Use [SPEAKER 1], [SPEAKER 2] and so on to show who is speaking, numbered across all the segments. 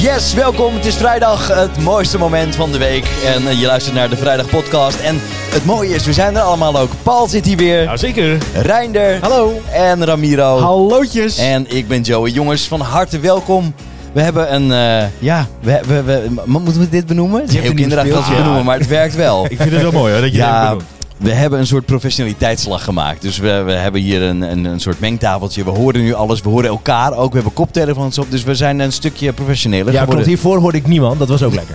[SPEAKER 1] Yes, welkom. Het is vrijdag, het mooiste moment van de week. En eh, je luistert naar de Vrijdag Podcast. En het mooie is, we zijn er allemaal ook. Paul zit hier weer,
[SPEAKER 2] Nou zeker.
[SPEAKER 1] Reinder
[SPEAKER 2] Hallo.
[SPEAKER 1] en Ramiro.
[SPEAKER 2] Hallootjes.
[SPEAKER 1] En ik ben Joey. Jongens, van harte welkom. We hebben een, eh, ja, we, we, we- m- moeten we dit benoemen? Het is
[SPEAKER 2] Je hebt
[SPEAKER 1] heel
[SPEAKER 2] een nieuw
[SPEAKER 1] kinderachtig als we
[SPEAKER 2] speeltje.
[SPEAKER 1] benoemen, maar het werkt wel.
[SPEAKER 2] Ik vind het wel mooi hoor, dat je dit
[SPEAKER 1] Ja,
[SPEAKER 2] benoemt.
[SPEAKER 1] we hebben een soort professionaliteitsslag gemaakt. Dus we, we hebben hier een, een, een soort mengtafeltje. We horen nu alles, we horen elkaar ook. We hebben koptelefoons op, dus we zijn een stukje professioneler
[SPEAKER 2] Ja, klopt.
[SPEAKER 1] geworden.
[SPEAKER 2] Hiervoor hoorde ik niemand, dat was ook lekker.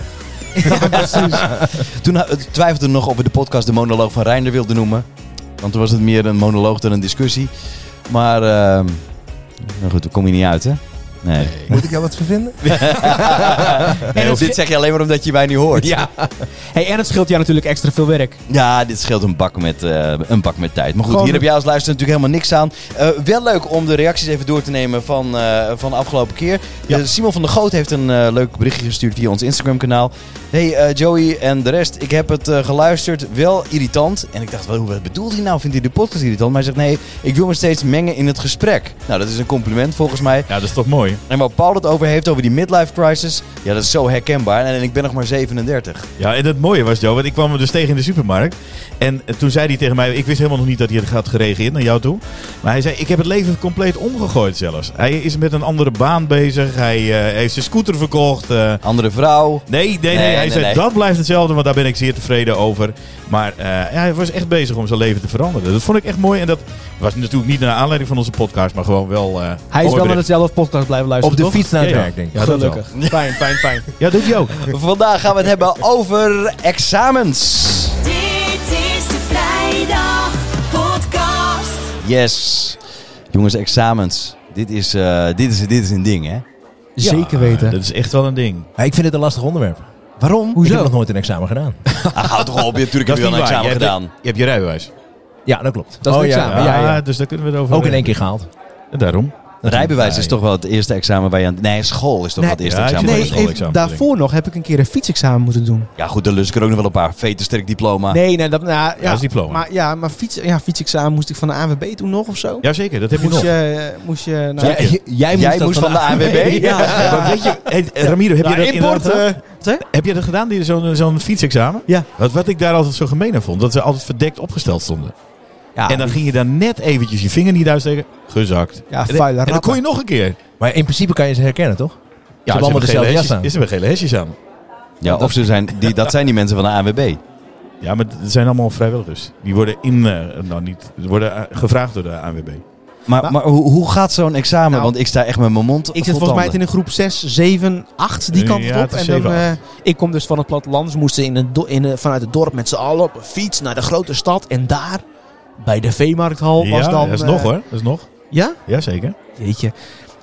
[SPEAKER 1] Toen eh, twijfelde nog of we de podcast de monoloog van Reinder wilden noemen. Want toen was het meer een monoloog dan een discussie. Maar ehm, nou goed, daar kom je niet uit, hè? Nee.
[SPEAKER 3] Moet ik jou wat vervinden?
[SPEAKER 1] En
[SPEAKER 2] dat-
[SPEAKER 1] dit zeg je alleen maar omdat je mij nu hoort.
[SPEAKER 2] Ja. Hey, en het scheelt jou natuurlijk extra veel werk.
[SPEAKER 1] Ja, dit scheelt een bak met, eh, een bak met tijd. Maar goed,
[SPEAKER 3] Gewoon-
[SPEAKER 1] hier heb jij als luisteraar natuurlijk helemaal niks aan. Eh, wel leuk om de reacties even door te nemen van, eh, van de afgelopen keer.
[SPEAKER 2] Ja.
[SPEAKER 1] Eh, Simon van der Goot heeft een eh, leuk berichtje gestuurd via ons Instagram-kanaal. Hey eh, Joey en de rest, ik heb het eh, geluisterd. Wel irritant. En ik dacht, wel, hoe- wat bedoelt hij nou? Vindt hij de podcast irritant? Maar hij zegt, nee, ik wil me steeds mengen in het gesprek. Nou, dat is een compliment volgens mij.
[SPEAKER 2] Ja, dat is toch mooi.
[SPEAKER 1] En waar Paul het over heeft, over die midlife crisis. Ja, dat is zo herkenbaar. En, en ik ben nog maar 37.
[SPEAKER 2] Ja, en het mooie was, Joe, want ik kwam hem dus tegen in de supermarkt. En eh, toen zei hij tegen mij, ik wist helemaal nog niet dat hij het had gereageerd naar jou toe. Maar hij zei, ik heb het leven compleet omgegooid zelfs. Hij is met een andere baan bezig, hij eh, heeft zijn scooter verkocht. eh,
[SPEAKER 1] Andere vrouw.
[SPEAKER 2] Nee, nee, nee.
[SPEAKER 1] Nee,
[SPEAKER 2] hij
[SPEAKER 1] nee,
[SPEAKER 2] zei,
[SPEAKER 1] nee.
[SPEAKER 2] dat blijft hetzelfde, want daar ben ik zeer tevreden over. Maar eh, ja, hij was echt bezig om zijn leven te veranderen. Dat vond ik echt mooi. En dat was natuurlijk niet naar aanleiding van onze podcast, maar gewoon wel... eh,
[SPEAKER 4] Hij is
[SPEAKER 2] mooi
[SPEAKER 4] wel
[SPEAKER 2] bericht.
[SPEAKER 4] met hetzelfde podcast blijven
[SPEAKER 2] Op
[SPEAKER 4] luisteren.
[SPEAKER 2] de
[SPEAKER 4] toch?
[SPEAKER 2] fiets naar het
[SPEAKER 4] Ja, ja.
[SPEAKER 2] werk, denk ik. Ja,
[SPEAKER 4] Ja,
[SPEAKER 2] dat wel.
[SPEAKER 4] Gelukkig. Fijn, fijn, fijn.
[SPEAKER 2] Ja, doet hij ook.
[SPEAKER 1] Vandaag gaan we het hebben over examens.
[SPEAKER 5] Dit is de Vrijdag Podcast.
[SPEAKER 1] Yes. Jongens, examens. Dit is, eh, dit is, dit is een ding, hè?
[SPEAKER 4] Zeker
[SPEAKER 2] Ja,
[SPEAKER 4] weten.
[SPEAKER 2] dat is echt wel een ding.
[SPEAKER 6] Ja, ik vind het een lastig onderwerp.
[SPEAKER 1] Waarom?
[SPEAKER 6] Ik
[SPEAKER 4] Hoezo?
[SPEAKER 6] heb nog nooit een examen gedaan.
[SPEAKER 1] Ah, houd toch op. Je hebt natuurlijk heb je wel een
[SPEAKER 2] niet waar.
[SPEAKER 1] examen
[SPEAKER 2] Je hebt-
[SPEAKER 1] gedaan.
[SPEAKER 2] Je hebt je rijbewijs.
[SPEAKER 6] Ja, dat klopt.
[SPEAKER 4] Dat is een examen. Ja, ja.
[SPEAKER 2] dus daar kunnen we het over
[SPEAKER 6] Ook in één
[SPEAKER 2] hebben.
[SPEAKER 6] keer gehaald.
[SPEAKER 2] En daarom.
[SPEAKER 1] Rijbewijs
[SPEAKER 2] Ja,
[SPEAKER 1] is
[SPEAKER 2] ja.
[SPEAKER 1] toch wel het eerste examen waar je aan... Nee, school is toch
[SPEAKER 4] Nee.
[SPEAKER 1] wel het eerste
[SPEAKER 2] Ja, ik
[SPEAKER 1] examen waar
[SPEAKER 2] zit
[SPEAKER 4] Nee,
[SPEAKER 1] je aan-
[SPEAKER 2] schoolexamen te
[SPEAKER 4] even,
[SPEAKER 2] denken.
[SPEAKER 4] daarvoor nog heb ik een keer een fietsexamen moeten doen.
[SPEAKER 1] Ja, goed, dan lust ik er ook nog wel een paar. Vetersterk diploma.
[SPEAKER 4] Nee, nee, dat, nou, ja,
[SPEAKER 2] Ah. dat is diploma.
[SPEAKER 4] Maar, ja, maar fiets, ja, fietsexamen moest ik van de ANWB toen nog of zo.
[SPEAKER 2] Jazeker, dat heb je
[SPEAKER 4] moest,
[SPEAKER 2] nog.
[SPEAKER 4] je, eh, moest je... Nou,
[SPEAKER 6] Jij, jij moest,
[SPEAKER 1] Jij
[SPEAKER 6] dat
[SPEAKER 1] moest van de ANWB?
[SPEAKER 4] Ja, ja.
[SPEAKER 2] Maar weet je, hey, eh, Ramiro, heb
[SPEAKER 4] Nou,
[SPEAKER 2] je dat
[SPEAKER 4] import,
[SPEAKER 2] inderdaad gedaan?
[SPEAKER 4] eh, wat zeg je?
[SPEAKER 2] Heb je dat gedaan, die- zo'n zo'n fietsexamen?
[SPEAKER 4] Ja.
[SPEAKER 2] Wat, wat ik daar altijd zo gemeen aan vond, dat ze altijd verdekt opgesteld stonden.
[SPEAKER 4] Ja,
[SPEAKER 6] Ah,
[SPEAKER 2] en dan ging je daar net eventjes je vinger niet uitsteken. Gezakt.
[SPEAKER 4] ja,
[SPEAKER 2] en, dan-
[SPEAKER 4] vuile
[SPEAKER 2] en dan kon
[SPEAKER 4] ratten.
[SPEAKER 2] je nog een keer.
[SPEAKER 6] Maar in principe kan je ze herkennen, toch?
[SPEAKER 2] Ja,
[SPEAKER 6] allemaal dezelfde jas aan.
[SPEAKER 2] Is er gele hesjes aan?
[SPEAKER 1] Ja, of ze zijn... Die, dat zijn die mensen van de ANWB.
[SPEAKER 2] Ja, maar het zijn allemaal vrijwilligers. Die worden in, eh, nou niet, worden eh, gevraagd door de ANWB.
[SPEAKER 1] Maar,
[SPEAKER 4] Maar-
[SPEAKER 1] maar hoe, hoe gaat zo'n examen?
[SPEAKER 4] Nou,
[SPEAKER 1] Want ik sta echt met mijn mond
[SPEAKER 4] Ik
[SPEAKER 1] vol
[SPEAKER 4] zit volgens mij
[SPEAKER 1] tanden.
[SPEAKER 4] in een groep 6, 7, 8 die
[SPEAKER 2] Ja,
[SPEAKER 4] kant
[SPEAKER 2] het is
[SPEAKER 4] op. En dan,
[SPEAKER 2] zeven,
[SPEAKER 4] eh, ik kom dus van het platteland. Dus moesten in een do- in een- vanuit het dorp met z'n allen op een fiets naar de grote stad. En daar, bij de veemarkthal, was
[SPEAKER 2] ja,
[SPEAKER 4] dan...
[SPEAKER 2] dat is
[SPEAKER 4] eh,
[SPEAKER 2] nog hoor. Dat is nog.
[SPEAKER 4] Ja?
[SPEAKER 2] Jazeker.
[SPEAKER 4] Jeetje.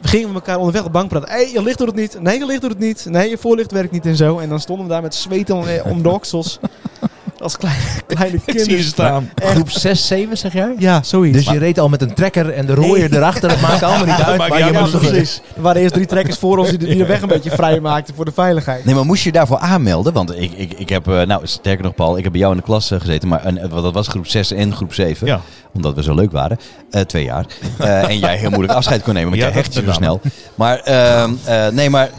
[SPEAKER 4] We gingen met elkaar onderweg op de bank praten. Hé, je licht doet het niet. Nee, je licht doet het niet. Nee, je voorlicht werkt niet en zo. En dan stonden we daar met zweet om, eh, om de oksels. Als kleine, kleine kinderen.
[SPEAKER 2] staan.
[SPEAKER 6] Groep 6, 7 zeg jij?
[SPEAKER 4] Ja, zoiets.
[SPEAKER 6] Dus je reed al met een trekker en de rooier
[SPEAKER 4] Nee.
[SPEAKER 6] erachter. Dat maakt allemaal niet uit.
[SPEAKER 2] maakt
[SPEAKER 6] Maar
[SPEAKER 2] niet uit,
[SPEAKER 6] je moest
[SPEAKER 2] maar
[SPEAKER 6] nog
[SPEAKER 2] precies.
[SPEAKER 4] Er waren eerst drie trekkers voor ons die de, die de weg een beetje vrij maakten voor de veiligheid.
[SPEAKER 1] Nee, maar moest je daarvoor aanmelden? Want ik, ik, ik heb, eh, nou sterker nog Paul, ik heb bij jou in de klas eh, gezeten, maar een, eh, want dat was groep 6 en groep 7,
[SPEAKER 2] Ja.
[SPEAKER 1] omdat we zo leuk waren, Eh, twee jaar. Eh, en jij heel moeilijk afscheid kon nemen, want
[SPEAKER 2] Ja,
[SPEAKER 1] jij hecht je
[SPEAKER 2] dat
[SPEAKER 1] zo
[SPEAKER 2] met
[SPEAKER 1] snel. Maar, ehm, eh, nee, maar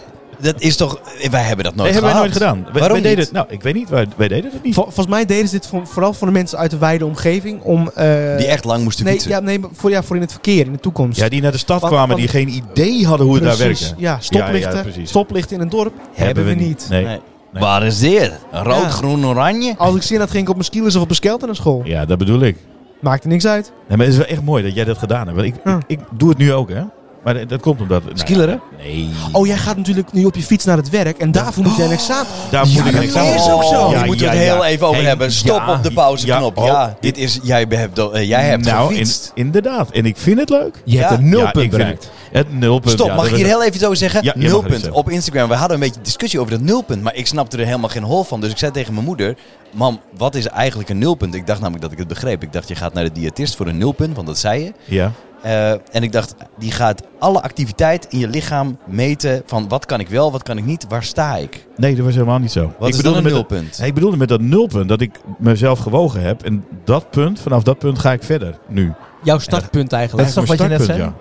[SPEAKER 1] dat is toch, wij hebben dat nooit
[SPEAKER 2] Nee, hebben wij
[SPEAKER 1] gehad.
[SPEAKER 2] nooit gedaan. Wij,
[SPEAKER 1] Waarom
[SPEAKER 2] wij deden
[SPEAKER 1] niet?
[SPEAKER 2] het- nou, ik weet niet. Wij, wij deden het niet.
[SPEAKER 4] Vol- volgens mij deden ze dit voor- vooral voor de mensen uit de wijde omgeving. Om, eh,
[SPEAKER 1] Die echt lang moesten
[SPEAKER 4] nee,
[SPEAKER 1] fietsen.
[SPEAKER 4] ja, nee, maar voor, ja, voor in het verkeer, in de toekomst.
[SPEAKER 2] Ja, die naar de stad
[SPEAKER 4] Want-
[SPEAKER 2] kwamen, die
[SPEAKER 4] want-
[SPEAKER 2] geen idee hadden hoe het daar
[SPEAKER 4] Precies.
[SPEAKER 2] werkte.
[SPEAKER 4] Ja, stoplichten.
[SPEAKER 2] Ja, ja, precies.
[SPEAKER 4] stoplichten in een dorp hebben, we niet.
[SPEAKER 2] Nee.
[SPEAKER 1] Nee. Waar is dit? Rood,
[SPEAKER 4] Ja.
[SPEAKER 1] groen, oranje?
[SPEAKER 4] Als ik zin had, ging ik op mijn skilers of op mijn skelter naar school.
[SPEAKER 2] Ja, dat bedoel ik.
[SPEAKER 4] Maakte niks uit.
[SPEAKER 2] Nee, maar het is wel echt mooi dat jij dat gedaan hebt. Want ik,
[SPEAKER 4] Ja.
[SPEAKER 2] ik, ik doe het nu ook, hè. Maar dat, dat komt omdat... nou,
[SPEAKER 1] Skileren?
[SPEAKER 2] Nee.
[SPEAKER 4] Oh, jij gaat natuurlijk nu op je fiets naar het werk en daarvoor moet jij een examen.
[SPEAKER 2] Oh, Daar moet ik een
[SPEAKER 1] Dat
[SPEAKER 2] examen
[SPEAKER 1] is
[SPEAKER 2] voor.
[SPEAKER 1] ook zo.
[SPEAKER 2] Ja,
[SPEAKER 1] Hier moeten we
[SPEAKER 2] ja,
[SPEAKER 1] het heel
[SPEAKER 2] ja.
[SPEAKER 1] even over
[SPEAKER 2] Hey,
[SPEAKER 1] hebben. Stop
[SPEAKER 2] ja.
[SPEAKER 1] op de pauzeknop. Ja,
[SPEAKER 2] Ja, oh.
[SPEAKER 1] dit is, jij hebt, eh, jij hebt
[SPEAKER 2] nou,
[SPEAKER 1] gefietst.
[SPEAKER 2] in- inderdaad. En ik vind het leuk.
[SPEAKER 6] Je hebt
[SPEAKER 1] Ja.
[SPEAKER 6] een
[SPEAKER 2] Ja, ik
[SPEAKER 6] nulpunt
[SPEAKER 2] vind
[SPEAKER 6] bereikt.
[SPEAKER 2] Het het nulpunt.
[SPEAKER 1] Stop,
[SPEAKER 2] ja,
[SPEAKER 1] mag
[SPEAKER 2] dat
[SPEAKER 1] ik hier
[SPEAKER 2] was-
[SPEAKER 1] heel even zo zeggen?
[SPEAKER 2] Ja, je mag het
[SPEAKER 1] nulpunt
[SPEAKER 2] zeggen.
[SPEAKER 1] op Instagram. We hadden een beetje discussie over dat nulpunt, maar ik snapte er helemaal geen hol van. Dus ik zei tegen mijn moeder, mam, wat is eigenlijk een nulpunt? Ik dacht namelijk dat ik het begreep. Ik dacht, je gaat naar de diëtist voor een nulpunt, want dat zei je.
[SPEAKER 2] Ja.
[SPEAKER 1] Eh, en ik dacht, die gaat alle activiteit in je lichaam meten van wat kan ik wel, wat kan ik niet, waar sta ik?
[SPEAKER 2] Nee, dat was helemaal niet zo.
[SPEAKER 1] Wat
[SPEAKER 2] ik
[SPEAKER 1] is dan een
[SPEAKER 2] met dat-
[SPEAKER 1] nulpunt?
[SPEAKER 2] Nee, ik bedoelde met dat nulpunt dat ik mezelf gewogen heb. En dat punt, vanaf dat punt ga ik verder nu.
[SPEAKER 4] Jouw startpunt
[SPEAKER 6] Dat
[SPEAKER 4] eigenlijk.
[SPEAKER 6] is toch wat je net zei?
[SPEAKER 2] Ja.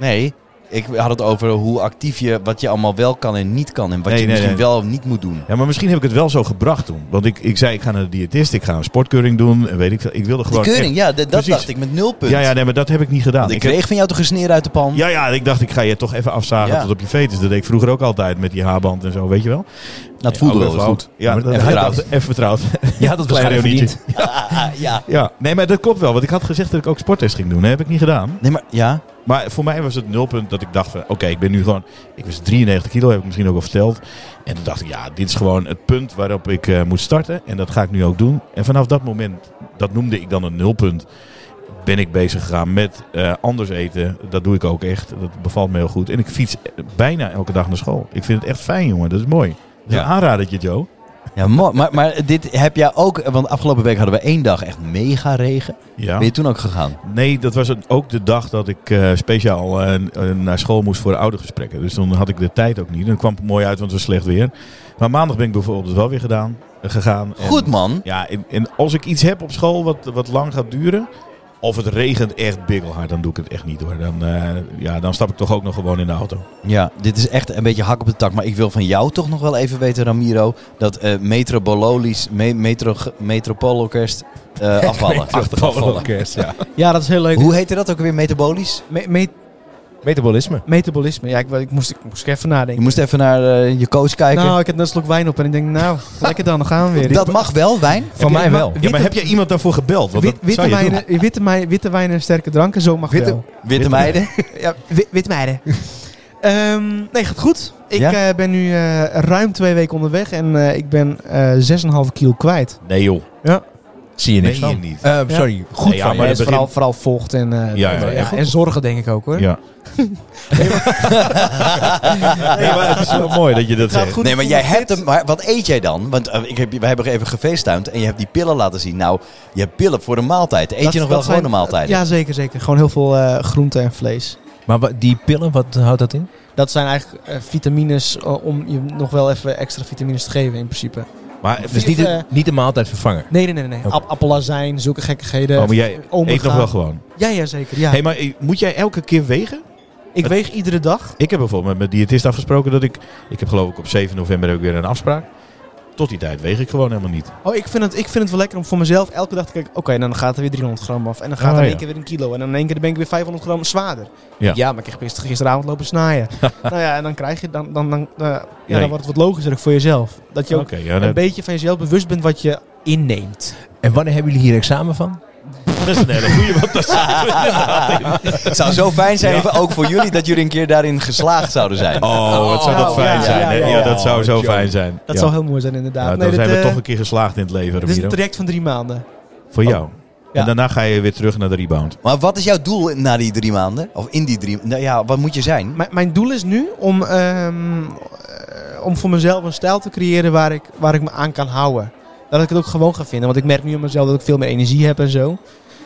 [SPEAKER 1] Nee, Ik had het over hoe actief je, wat je allemaal wel kan en niet kan. En wat
[SPEAKER 2] Nee,
[SPEAKER 1] je
[SPEAKER 2] nee,
[SPEAKER 1] misschien
[SPEAKER 2] nee.
[SPEAKER 1] wel of niet moet doen.
[SPEAKER 2] Ja, maar misschien heb ik het wel zo gebracht toen. Want ik, ik zei, ik ga naar de diëtist, ik ga een sportkeuring doen. en Weet ik, veel. ik wilde
[SPEAKER 1] Die
[SPEAKER 2] gewoon
[SPEAKER 1] keuring, ja, d- dat
[SPEAKER 2] Precies.
[SPEAKER 1] dacht ik met nul punt.
[SPEAKER 2] echt- ja, ja, nee, maar dat heb ik niet gedaan.
[SPEAKER 1] Want ik
[SPEAKER 2] heb-
[SPEAKER 1] kreeg van jou toch een sneer uit de pan?
[SPEAKER 2] Ja, ja, ik dacht, ik ga je toch even afzagen
[SPEAKER 1] Ja.
[SPEAKER 2] tot op je fetus. Dat deed ik vroeger ook altijd met die haarband en zo, weet je wel.
[SPEAKER 1] dat voelde
[SPEAKER 2] Ja,
[SPEAKER 1] wel
[SPEAKER 2] ook
[SPEAKER 1] eens
[SPEAKER 2] flauw.
[SPEAKER 1] goed.
[SPEAKER 2] Ja,
[SPEAKER 6] Maar
[SPEAKER 2] dat,
[SPEAKER 1] even
[SPEAKER 2] even
[SPEAKER 1] vertrouwd.
[SPEAKER 2] vertrouwd. Even vertrouwd.
[SPEAKER 6] Je had het
[SPEAKER 2] Klein
[SPEAKER 6] waarschijnlijk
[SPEAKER 2] reunietje.
[SPEAKER 6] verdiend.
[SPEAKER 1] Ah, ja.
[SPEAKER 2] Ja, nee, maar dat klopt wel. Want ik had gezegd dat ik ook sporttest ging doen. Dat heb ik niet gedaan.
[SPEAKER 1] Nee, maar ja.
[SPEAKER 2] Maar voor mij was het nulpunt dat ik dacht van... Oké, ik ben nu gewoon... Ik was 93 kilo, heb ik misschien ook al verteld. En toen dacht ik, ja, dit is gewoon het punt waarop ik eh, moet starten. En dat ga ik nu ook doen. En vanaf dat moment, dat noemde ik dan een nulpunt... Ben ik bezig gegaan met eh, anders eten. Dat doe ik ook echt. Dat bevalt me heel goed. En ik fiets bijna elke dag naar school. Ik vind het echt fijn, jongen. Dat is mooi. Dat is
[SPEAKER 1] Ja.
[SPEAKER 2] een aanradertje, Joe.
[SPEAKER 1] ja mooi. Maar, maar dit heb jij ook... Want afgelopen week hadden we één dag echt mega regen.
[SPEAKER 2] Ja.
[SPEAKER 1] Ben je toen ook gegaan?
[SPEAKER 2] Nee, dat was het- ook de dag dat ik eh, speciaal eh, eh, naar school moest voor oudergesprekken. Dus dan had ik de tijd ook niet. En dat kwam het mooi uit, want het was slecht weer. Maar maandag ben ik bijvoorbeeld dus wel weer gedaan, eh, gegaan. En-
[SPEAKER 1] Goed, man.
[SPEAKER 2] Ja, en, en als ik iets heb op school wat, wat lang gaat duren... of het regent echt bikkelhard, dan doe ik het echt niet hoor. Dan, eh, ja, dan stap ik toch ook nog gewoon in de auto.
[SPEAKER 1] Ja, dit is echt een beetje hak op de tak. Maar ik wil van jou toch nog wel even weten, Ramiro... dat eh Metro Bololis, me, metro, Metropoliorkest eh, afvallen. afvallen.
[SPEAKER 2] ja.
[SPEAKER 4] Ja, dat is heel leuk.
[SPEAKER 1] Hoe heette dat ook weer? Metabolisch?
[SPEAKER 4] Me- me-
[SPEAKER 6] Metabolisme.
[SPEAKER 4] metabolisme. Ja, ik, ik, moest, ik moest er even
[SPEAKER 1] Je
[SPEAKER 4] nadenken.
[SPEAKER 1] moest even naar eh, je coach kijken.
[SPEAKER 4] Nou, ik heb net een slok wijn op en ik denk, nou, lekker dan, dan gaan we weer.
[SPEAKER 1] dat mag wel, wijn.
[SPEAKER 6] Van
[SPEAKER 4] je-
[SPEAKER 6] mij
[SPEAKER 4] maar-
[SPEAKER 6] wel.
[SPEAKER 2] Ja, maar heb jij iemand daarvoor gebeld? Want
[SPEAKER 4] Wit-
[SPEAKER 2] dat zou
[SPEAKER 4] witte,
[SPEAKER 2] je doen.
[SPEAKER 4] wijnen, witte, mei- witte wijn en sterke dranken, zo mag
[SPEAKER 1] Witte,
[SPEAKER 4] wel.
[SPEAKER 1] witte meiden.
[SPEAKER 4] Ja, wi- witte meiden. Ehm, nee, gaat goed. Ik
[SPEAKER 1] Ja?
[SPEAKER 4] eh, ben nu eh, ruim twee weken onderweg en eh, ik ben eh 6,5 kilo kwijt.
[SPEAKER 2] Nee joh,
[SPEAKER 6] Zie je
[SPEAKER 2] nee
[SPEAKER 6] niks
[SPEAKER 2] je
[SPEAKER 6] van.
[SPEAKER 2] niet.
[SPEAKER 6] Eh, sorry, goed
[SPEAKER 2] Nee, ja,
[SPEAKER 6] van
[SPEAKER 2] maar
[SPEAKER 6] je.
[SPEAKER 2] dat
[SPEAKER 4] Ja, dus
[SPEAKER 2] begin-
[SPEAKER 4] vooral, vooral vocht en, eh,
[SPEAKER 2] Ja, ja, ja.
[SPEAKER 4] ja, en zorgen denk ik ook hoor.
[SPEAKER 2] Ja.
[SPEAKER 1] Ah,
[SPEAKER 2] nee, maar het is wel mooi dat je dat
[SPEAKER 4] Gaat
[SPEAKER 2] zegt.
[SPEAKER 4] goed,
[SPEAKER 1] nee, maar
[SPEAKER 4] ik
[SPEAKER 1] jij
[SPEAKER 4] voel me
[SPEAKER 1] hebt hem. Maar wat eet jij dan? Want eh, ik heb, je- wij hebben even gefeestuind en je hebt die pillen laten zien. Nou, je hebt pillen voor de maaltijd. Eet
[SPEAKER 4] Dat-
[SPEAKER 1] je nog wel
[SPEAKER 4] dat
[SPEAKER 1] gewone
[SPEAKER 4] zijn-
[SPEAKER 1] maaltijden?
[SPEAKER 4] Ja, zeker, zeker. Gewoon heel veel eh groente en vlees.
[SPEAKER 6] Maar wa- die pillen, wat houdt dat in?
[SPEAKER 4] Dat zijn eigenlijk eh, vitamines eh, om je nog wel even extra vitamines te geven in principe.
[SPEAKER 2] Maar,
[SPEAKER 6] Dus niet de,
[SPEAKER 4] eh,
[SPEAKER 6] niet de maaltijd vervangen.
[SPEAKER 4] Nee, nee, nee. nee.
[SPEAKER 6] Oké.
[SPEAKER 4] Ap- appelazijn, zulke gekkigheden.
[SPEAKER 2] oh, maar jij
[SPEAKER 4] omega.
[SPEAKER 2] eet nog wel gewoon.
[SPEAKER 4] Ja, ja, zeker. Ja.
[SPEAKER 2] Hey, maar eh, moet jij elke keer wegen?
[SPEAKER 4] ik weeg iedere dag.
[SPEAKER 2] Ik heb bijvoorbeeld met mijn diëtist afgesproken dat ik... Ik heb geloof ik op 7 november heb ik weer een afspraak. Tot die tijd weeg ik gewoon helemaal niet.
[SPEAKER 4] Oh, ik vind, het, ik vind het wel lekker om voor mezelf elke dag te kijken. Oké, nou, dan gaat er weer 300 gram af. En dan gaat
[SPEAKER 2] Oh,
[SPEAKER 4] er in
[SPEAKER 2] ja.
[SPEAKER 4] één keer weer een kilo. En dan in één keer ben ik weer 500 gram zwaarder.
[SPEAKER 2] Ja.
[SPEAKER 4] maar ik heb gister- gisteravond lopen snaaien. nou ja, en dan krijg je... Dan, dan, dan, eh, ja,
[SPEAKER 2] Nee.
[SPEAKER 4] dan wordt het wat logischer ook voor jezelf. Dat je
[SPEAKER 2] Oké,
[SPEAKER 4] ook
[SPEAKER 2] ja,
[SPEAKER 4] een
[SPEAKER 2] dat,
[SPEAKER 4] beetje van jezelf bewust bent wat je inneemt.
[SPEAKER 6] En wanneer hebben jullie hier examen van?
[SPEAKER 2] dat is een hele goeie, want daar zaten we inderdaad in.
[SPEAKER 1] Het zou zo fijn zijn, voor- ook voor jullie, dat jullie een keer daarin geslaagd zouden zijn.
[SPEAKER 2] Oh, wat zou dat
[SPEAKER 4] Oh,
[SPEAKER 2] fijn
[SPEAKER 4] ja,
[SPEAKER 2] zijn.
[SPEAKER 4] ja,
[SPEAKER 2] hè?
[SPEAKER 4] ja,
[SPEAKER 2] Ja,
[SPEAKER 4] ja.
[SPEAKER 2] dat zou zo fijn zijn.
[SPEAKER 4] Dat
[SPEAKER 2] ja.
[SPEAKER 4] zou heel mooi zijn inderdaad.
[SPEAKER 2] Ja, dan
[SPEAKER 4] Nee, dit,
[SPEAKER 2] zijn we
[SPEAKER 4] eh,
[SPEAKER 2] toch een keer geslaagd in het leven,
[SPEAKER 4] Dit is een
[SPEAKER 2] Ramiro.
[SPEAKER 4] traject van drie maanden.
[SPEAKER 2] Voor jou.
[SPEAKER 4] Ja.
[SPEAKER 2] En daarna ga je weer terug naar de rebound.
[SPEAKER 1] Maar wat is jouw doel na die drie maanden? Of in die drie Nou ja, wat moet je zijn?
[SPEAKER 4] M- mijn doel is nu om, ehm, eh, om voor mezelf een stijl te creëren waar ik, waar ik me aan kan houden. Dat ik het ook gewoon ga vinden. Want ik merk nu aan mezelf dat ik veel meer energie heb en zo.